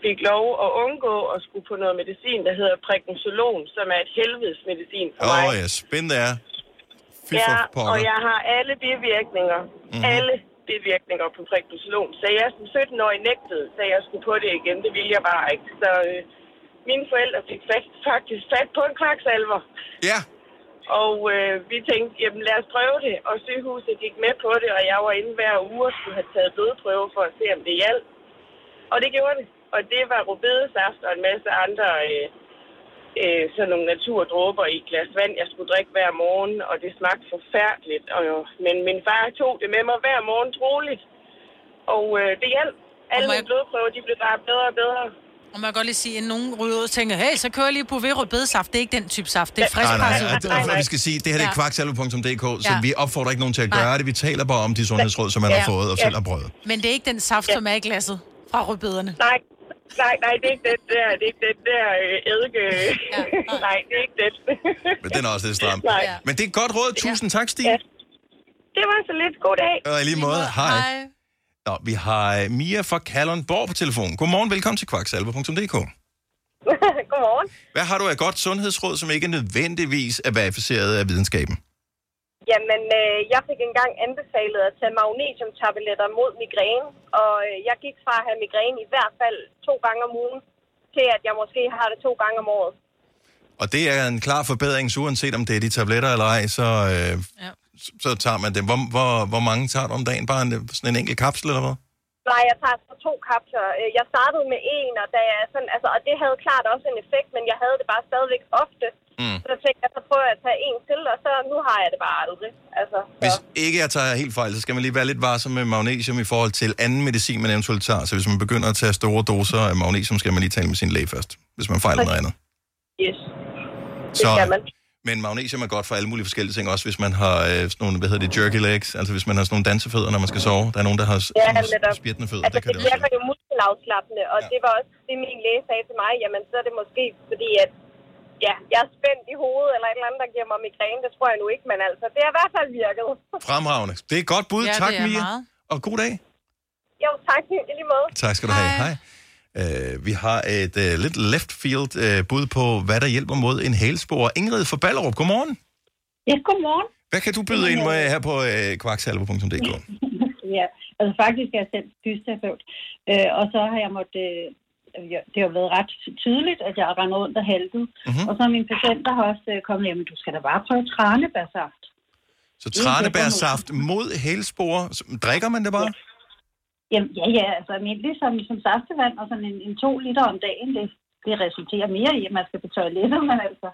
fik lov at undgå at skulle på noget medicin, der hedder prækonsolon, som er et helvedes medicin for mig. åh oh, ja, spændende er. Fy for ja, pokker. og jeg har alle bivirkninger. Mhm. Mm-hmm. Alle bivirkninger på prægnosolon. Så jeg som 17-årig nægtede, så jeg skulle på det igen. Det ville jeg bare ikke. Så øh, mine forældre fik fast, faktisk fat på en kvaksalver. Ja. Og øh, vi tænkte, jamen lad os prøve det. Og sygehuset gik med på det, og jeg var inde hver uge og skulle have taget blodprøver for at se, om det hjalp. Og det gjorde det. Og det var rubedesaft og en masse andre øh, øh, sådan nogle naturdråber i et glas vand, jeg skulle drikke hver morgen, og det smagte forfærdeligt. Og, jo, men min far tog det med mig hver morgen troligt, og øh, det hjalp. Alle mine blodprøver, de blev bare bedre og bedre. Og man kan godt lige sige, at nogen ryger ud og tænker, hey, så kører jeg lige på ved bedesaft. Det er ikke den type saft, det er frisk Nej, nej, presset. nej, det er, vi skal sige, det her det er kvaksalve.dk, så Ja. vi opfordrer ikke nogen til at Nej. gøre det. Vi taler bare om de sundhedsråd, som man har fået og selv har prøvet. Men det er ikke den saft, som er i glasset fra rødbederne. Nej, nej, nej, det er ikke den der, det er ikke den der øh, eddike. Ja, nej. nej, det er ikke den. Men den er også lidt stram. Nej. Men det er et godt råd. Tusind tak, Stine. Det var så lidt. God dag. Og i lige måde, hej. Nå, vi har øh, Mia fra Kalundborg på telefonen. Godmorgen, velkommen til kvaksalve.dk. Godmorgen. Hvad har du af godt sundhedsråd, som ikke nødvendigvis er verificeret af videnskaben? Jamen, øh, jeg fik engang anbefalet at tage magnesiumtabletter mod migræne, og øh, jeg gik fra at have migræne i hvert fald to gange om ugen, til at jeg måske har det to gange om året. Og det er en klar forbedring, så uanset om det er de tabletter eller ej, så, øh, ja. så, så tager man dem. Hvor, hvor, hvor mange tager du om dagen? Bare en, sådan en enkelt kapsel eller hvad? Nej, jeg tager så to kapsler. Øh, Jeg startede med en, og, da jeg sådan, altså, og det havde klart også en effekt, men jeg havde det bare stadigvæk ofte. Mm. Så tænkte jeg, så prøver jeg at tage en til, og så nu har jeg det bare aldrig. Altså, Hvis ikke jeg tager helt fejl, så skal man lige være lidt varsom med magnesium i forhold til anden medicin, man eventuelt tager. Så hvis man begynder at tage store doser af magnesium, skal man lige tale med sin læge først, hvis man fejler noget andet. yes. Så, men magnesium er godt for alle mulige forskellige ting, også hvis man har øh, sådan nogle, hvad hedder det, jerky legs, altså hvis man har sådan nogle dansefødder, når man skal sove. Der er nogen, der har s- Ja, sådan netop. spirtende fødder, Altså, der kan det det også. virker jo muskelafslappende, og ja. det var også det, min læge sagde til mig. Jamen, så er det måske fordi, at ja, jeg er spændt i hovedet, eller et eller andet, der giver mig migræne. Det tror jeg nu ikke, men altså, det har i hvert fald virket. Fremragende. Det er et godt bud. Ja, det tak, er Mia. meget. Og god dag. Jo, tak. I lige måde. Tak skal du have. Hej. Øh, vi har et øh, lidt left field øh, bud på, hvad der hjælper mod en hælspor. Ingrid fra Ballerup, godmorgen. Ja, godmorgen. Hvad kan du byde ind med her på øh, kvaksalver.dk? ja, altså faktisk er jeg selv fysioterapeut, øh, og så har jeg måttet... Øh, jeg- det har været ret tydeligt, at jeg har rendt rundt og haltet. Mhm. Mm-hmm. Og så er mine patienter har også øh, kommet, jamen du skal da bare prøve tranebærsaft. Så tranebærsaft mod hælspor. Så- Drikker man det bare? Jamen ja, ja, altså almindeligt som, som saftevand og sådan en, en to liter om dagen, det, det resulterer mere i, at man skal på toilettet, men altså,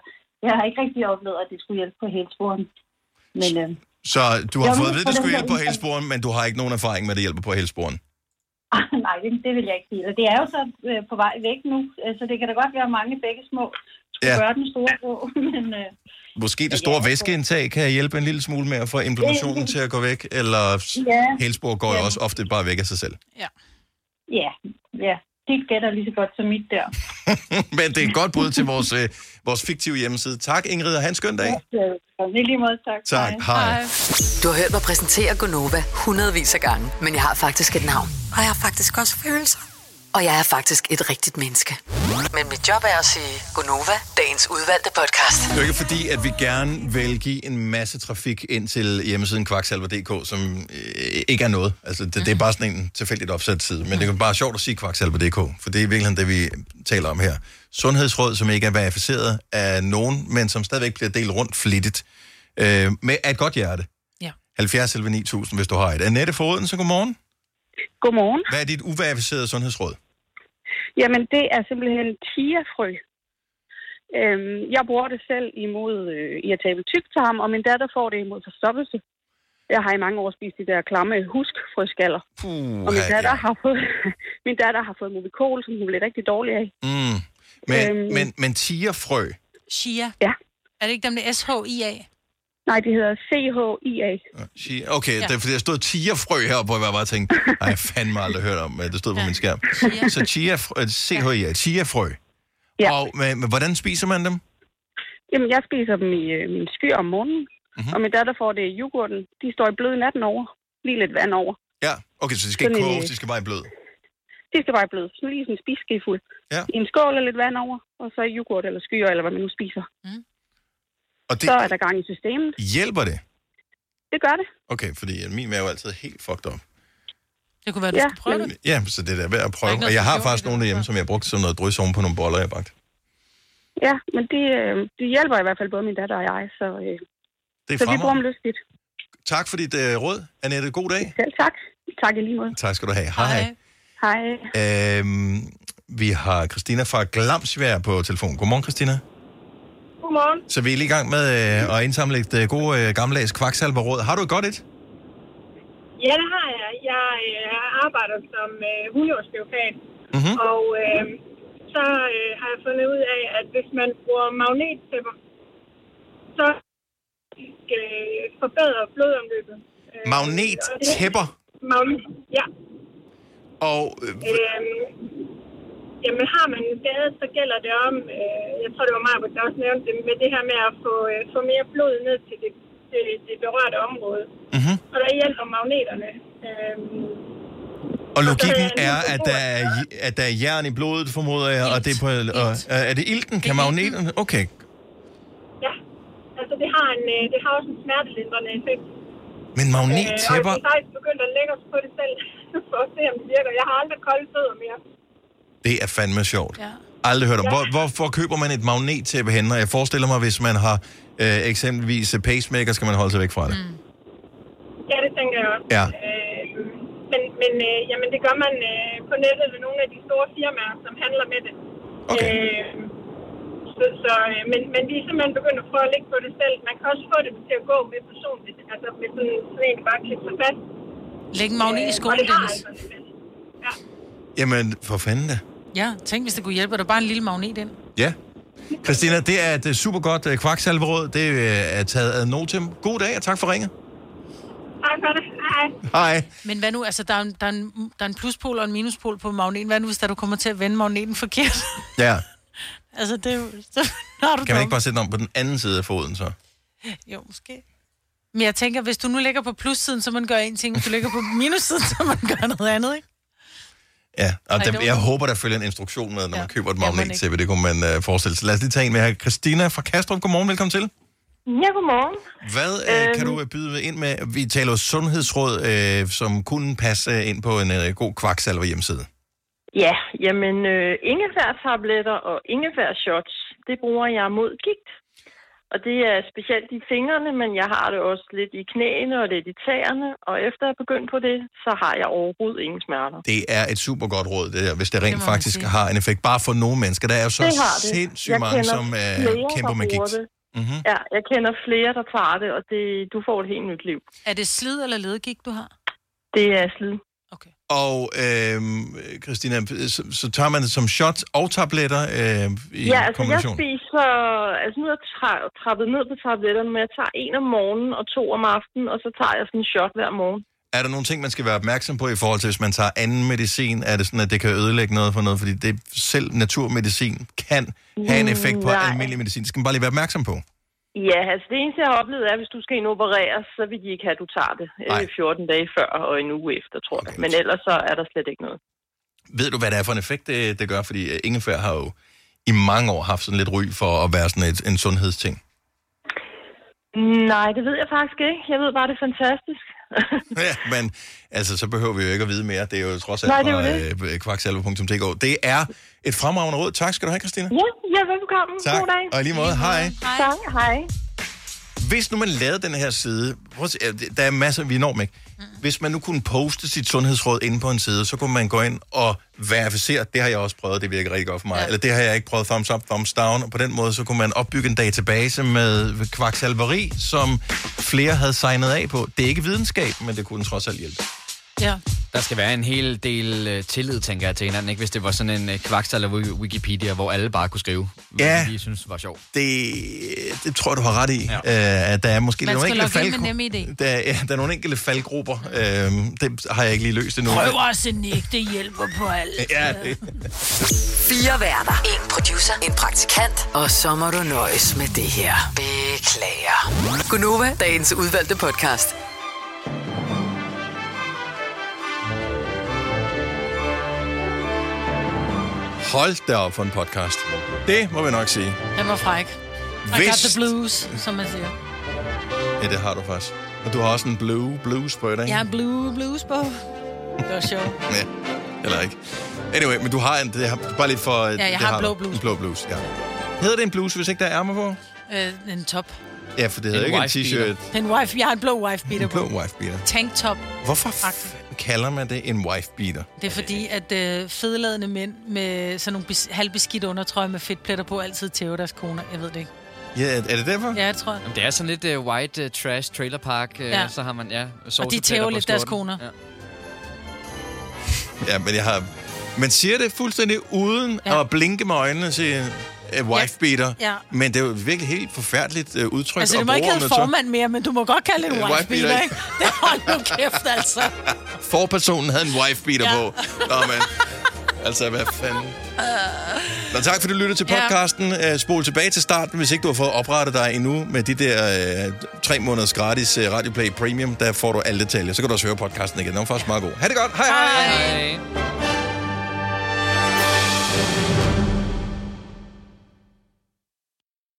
jeg har ikke rigtig oplevet, at det skulle hjælpe på helsporen. Men øh, Så du har Jo, fået at vide, at men for det dem, skulle der hjælpe på ikke- hælsporen, men du har ikke nogen erfaring med, at det hjælper på hælsporen. Ah, Nej, det, det vil jeg ikke sige. Og Det er jo så øh, på vej væk nu, øh, så det kan da godt være at mange begge små. Skulle Ja. ja. gøre den store på, men øh, Måske det store væskeindtag kan hjælpe en lille smule med at få inflammationen til at gå væk, eller s- Ja. hælspor går jo også ofte bare væk af sig selv. ja, ja, det gætter lige så godt som mit der. Men det er et godt bud til vores, øh, vores fiktive hjemmeside. Tak Ingrid, og have en skøn dag. Øh, Så det er lige måde, tak. Tak, hej. hej. Du har hørt mig præsentere Gonova hundredvis af gange, men jeg har faktisk et navn. Og jeg har faktisk også følelser. Og jeg er faktisk et rigtigt menneske. Men mit job er at sige Gonova, dagens udvalgte podcast. Det er jo ikke fordi, at vi gerne vil give en masse trafik ind til hjemmesiden kvaksalver.dk, som øh, ikke er noget. Altså, det, det er bare sådan en tilfældigt opsat side. Men det er bare sjovt at sige kvaksalver.dk, for det er i virkeligheden det, vi taler om her. Sundhedsråd, som ikke er verificeret af nogen, men som stadigvæk bliver delt rundt flittigt. Øh, med af et godt hjerte. Ja. 70 11 9000, hvis du har et. Annette Foden, så godmorgen. Godmorgen. Hvad er dit uverificerede sundhedsråd? Jamen, det er simpelthen chiafrø. Øhm, jeg bruger det selv imod øh, irritabel tyktarm, og min datter får det imod forstoppelse. Jeg har i mange år spist de der klamme huskfrøskaller. Puh, og min ja, datter, har fået, min datter har fået movikol, som hun blev rigtig dårlig af. Mm. Men, Øhm. øhm. men, men tigerfrø, Shia. Ja. Er det ikke dem, det er SHIA? Nej, det hedder CHIA. Chi- Okay, Ja. ja. det er fordi, der stod tigerfrø heroppe, hvor jeg bare tænkte, nej, jeg fandme aldrig hørt om, men det stod på min skærm. Chia. Så øh, chia, CHIA, tigerfrø. Ja. Og øh, men, men, hvordan spiser man dem? Jamen, jeg spiser dem i øh, min sky om morgenen, mm-hmm. og min datter får det i yoghurten. De står i blød natten over. Lige lidt vand over. Ja, okay, så de skal ikke Sådan en, koges, øh, de skal bare i blød. Det skal bare blive sådan lige sådan en spiske fuld. Ja. I en skål og lidt vand over, og så yoghurt eller skyer, eller hvad man nu spiser. Mm. Og det- Så er der gang i systemet. Hjælper det? Det gør det. Okay, fordi øh, min mave er altid helt fucked up. Det kunne være, du Ja, ja, skulle prøve det. Ja, så det er da værd at ikke prøve. noget Og jeg har forstå faktisk nogle derhjemme, som jeg brugte som noget drys oven på nogle boller, jeg bagte. Ja, men det, øh, det hjælper i hvert fald både min datter og jeg, så, øh, Det er så vi bruger dem fremragende. lystigt. Tak for dit øh, råd, Annette. God dag. Selv tak. Tak i lige måde. Tak skal du have. Hej. Hej. Hej. Øhm, vi har Christina fra Glamsvær på telefon. Godmorgen, Christina. Godmorgen. Så vi er lige i gang med øh, at indsamle et øh, gode øh, gammeldags kvaksalverråd. Har du et godt et? Ja, det har jeg. Jeg øh, arbejder som øh, hundeårsbiograf, Mhm. og øh, så øh, har jeg fundet ud af, at hvis man bruger magnettæpper, så øh, forbedrer blodomløbet. Øh, Magnettæpper. og det- Magnet, ja. Og øh, Øhm, jamen har man en skade, så gælder det om, øh, jeg tror det var mig, der også nævnte det, med det her med at få, øh, få mere blod ned til det, det, det berørte område. Mm-hmm. Og der hjælper magneterne. Øhm, Og logikken er, at der er, at der er jern i blodet, formoder jeg, og det er på... Og, øh, er det ilten? Kan magneterne? Okay. ja, altså det har, en, øh, det har også en smertelindrende effekt. Men Øh, og magnettæpper, jeg har faktisk begyndt at lægge os på det selv, for at se, om det virker. Jeg har aldrig kolde fødder mere. det er fandme sjovt. Ja. Aldrig hørt om. Hvor, hvorfor køber man et magnettæppe henne? Og Jeg forestiller mig, hvis man har øh, eksempelvis pacemaker, skal man holde sig væk fra det. Ja, det tænker jeg også. Ja. Øh, men men øh, jamen, det gør man øh, på nettet ved nogle af de store firmaer, som handler med det. Okay. Øh, så, så, øh, men, men vi er simpelthen begyndt at prøve at ligge på det selv. Man kan også få det til at gå med personligt. Altså med sådan, sådan en, der bare klipper sig fast. Læg en magnet i Øh, skoen, og det har Dennis. altså en effekt. Ja. Jamen, for fanden da. Ja, tænk, hvis det kunne hjælpe, at der bare en lille magnet ind. Ja. Christina, det er et øh, super godt øh, kvaksalveråd. Det øh, er taget ad notem. God dag, og tak for ringet. Tak for det. Hej. Hej. Men hvad nu, altså, der er, en, der, er en, der er en pluspol og en minuspol på magneten. Hvad nu, hvis der du kommer til at vende magneten forkert? Ja. altså, det er jo... Så, har du Kan man dumt. ikke bare sætte den om på den anden side af foden, så? Jo, måske. Men jeg tænker, hvis du nu ligger på plussiden, så man gør en ting. Hvis du ligger på minussiden, så man gør noget andet, ikke? Ja, og I dem, don't jeg know. håber, der følger en instruktion med, når ja. man køber et Ja, mon ikke. magnet-tæppe. Det kunne man øh, forestille sig. Lad os lige tage en med her. Christina fra Kastrup, godmorgen, velkommen til. Ja, godmorgen. Hvad øh, kan Øhm. du øh, byde ind med? Vi taler jo sundhedsråd, øh, som kunne passe øh, ind på en øh, god kvaksalver hjemmeside. Ja, jamen øh, ingefærtabletter og ingefærshots, det bruger jeg mod gigt. Og det er specielt i fingrene, men jeg har det også lidt i knæene og lidt i tæerne. Og efter jeg er begyndt på det, så har jeg overhovedet ingen smerter. Det er et super godt råd, det der, hvis det Det rent må det man faktisk sige. har en effekt. Bare for nogle mennesker. Der er jo så det har det. sindssygt Jeg mange, kender som øh, flere, kæmper der med bruger gigt. det. Mm-hmm. Ja, jeg kender flere, der tager det, og det, du får et helt nyt liv. Er det slid eller ledgigt, du har? Det er slid. Og øh, Christina, så, så tager man det som shot og tabletter øh, i ja, altså jeg kombination? spiser, altså nu er jeg tra- trappet ned på tabletterne, men jeg tager en om morgenen og to om aftenen, og så tager jeg sådan en shot hver morgen. Er der nogle ting, man skal være opmærksom på i forhold til, hvis man tager anden medicin? Er det sådan, at det kan ødelægge noget for noget? Fordi det, selv naturmedicin kan have en Mm, effekt på nej. almindelig medicin. Det skal man bare lige være opmærksom på. Ja, altså det eneste, jeg har oplevet, er, at hvis du skal indopereres, så vil de ikke have, at du tager det øh, 14 dage før og en uge efter, tror jeg. Men ellers så er der slet ikke noget. Ved du, hvad det er for en effekt, det, det gør? Fordi øh, ingefær har jo i mange år haft sådan lidt ry for at være sådan et, en sundhedsting. Nej, det ved jeg faktisk ikke. Jeg ved bare, det er fantastisk. Men altså, så behøver vi jo ikke at vide mere. Det er jo trods alt Nej, det er jo fra øh, kvaksalve.dk. Det er et fremragende råd. Tak skal du have, Christina. Ja, ja velbekomme. Tak. God dag. Og i lige måde, hej. Tak, hej. Hvis nu man lavede den her side, prøv at se, øh, der er masser, vi når med. Mm. Hvis man nu kunne poste sit sundhedsråd inde på en side, så kunne man gå ind og verificere, det har jeg også prøvet, det virker rigtig godt for mig, ja. eller det har jeg ikke prøvet, thumbs up, thumbs down, og på den måde, så kunne man opbygge en database med kvaksalveri, som flere havde signet af på. Det er ikke videnskab, men det kunne trods alt hjælpe. Ja. Der skal være en hel del øh, tillid, tænker jeg, til hinanden, ikke? Hvis det var sådan en øh, kvaksalver eller Wikipedia, hvor alle bare kunne skrive, hvad Ja. de synes var sjovt. Det, det tror jeg, du har ret i, ja. øh, at der er måske Man nogle skal enkelte, logge ind faldgru- med nem idé. der, ja, der er nogle enkelte faldgrupper. Øh, det har jeg ikke lige løst endnu. Prøv også en ikke, det hjælper på alt. Ja, det. Fire værter. En producer. En praktikant. Og så må du nøjes med det her. Beklager. Gunova, dagens udvalgte podcast. Hold da op for en podcast. Det må vi nok sige. Den var fræk. I got Hvis- the blues, som man siger. Ja, det har du faktisk. Og du har også en blue blues på i dag. Jeg er blue blues på. Det var sjovt. ja. Eller ikke. Anyway, men du har en... Det har, bare lige for... jeg det har blå du. blues. En blå blues, ja. Hedder det en blus, hvis ikke der er ærmer på? Øh, en top. Ja, for det hedder ikke en t-shirt. En wife. Jeg har en blå wife beater En på. blå wife beater. Tanktop. Hvorfor f- kalder man det en wife beater? Det er fordi, at øh, fedladende mænd med sådan nogle bes- halvbeskidte undertrøjer med fedtpletter på altid tæver deres koner. Jeg ved det ikke. Ja, er det derfor? Ja, jeg tror. Jamen, det er sådan lidt uh, white uh, trash trailer park, uh, Ja. ja. så har man, ja, Og de sovsepletter tæver på lidt deres skjorten. koner. Ja. Ja, men jeg har... Man siger det fuldstændig uden ja. at blinke med øjnene og sige uh, wifebeater. Ja. Men det er jo virkelig helt forfærdeligt uh, udtryk Altså, at du må ikke bruge kalde om et tøj. formand mere, men du må godt kalde det en Øh, wife wife-beater, beater, ikke? ikke? Det hold nu kæft, altså. Forpersonen havde en wifebeater Ja. ja. på. Nå, men. Altså, hvad fanden. Nå, tak fordi du lyttede til Ja. podcasten. Ja. Spol tilbage til starten, hvis ikke du har fået oprettet dig endnu med de der øh, tre måneders gratis øh, Radioplay Premium. Der får du alle detaljer. Så kan du også høre podcasten igen. Den var faktisk meget god. Ha' det godt. Hej hej. hej. Hej.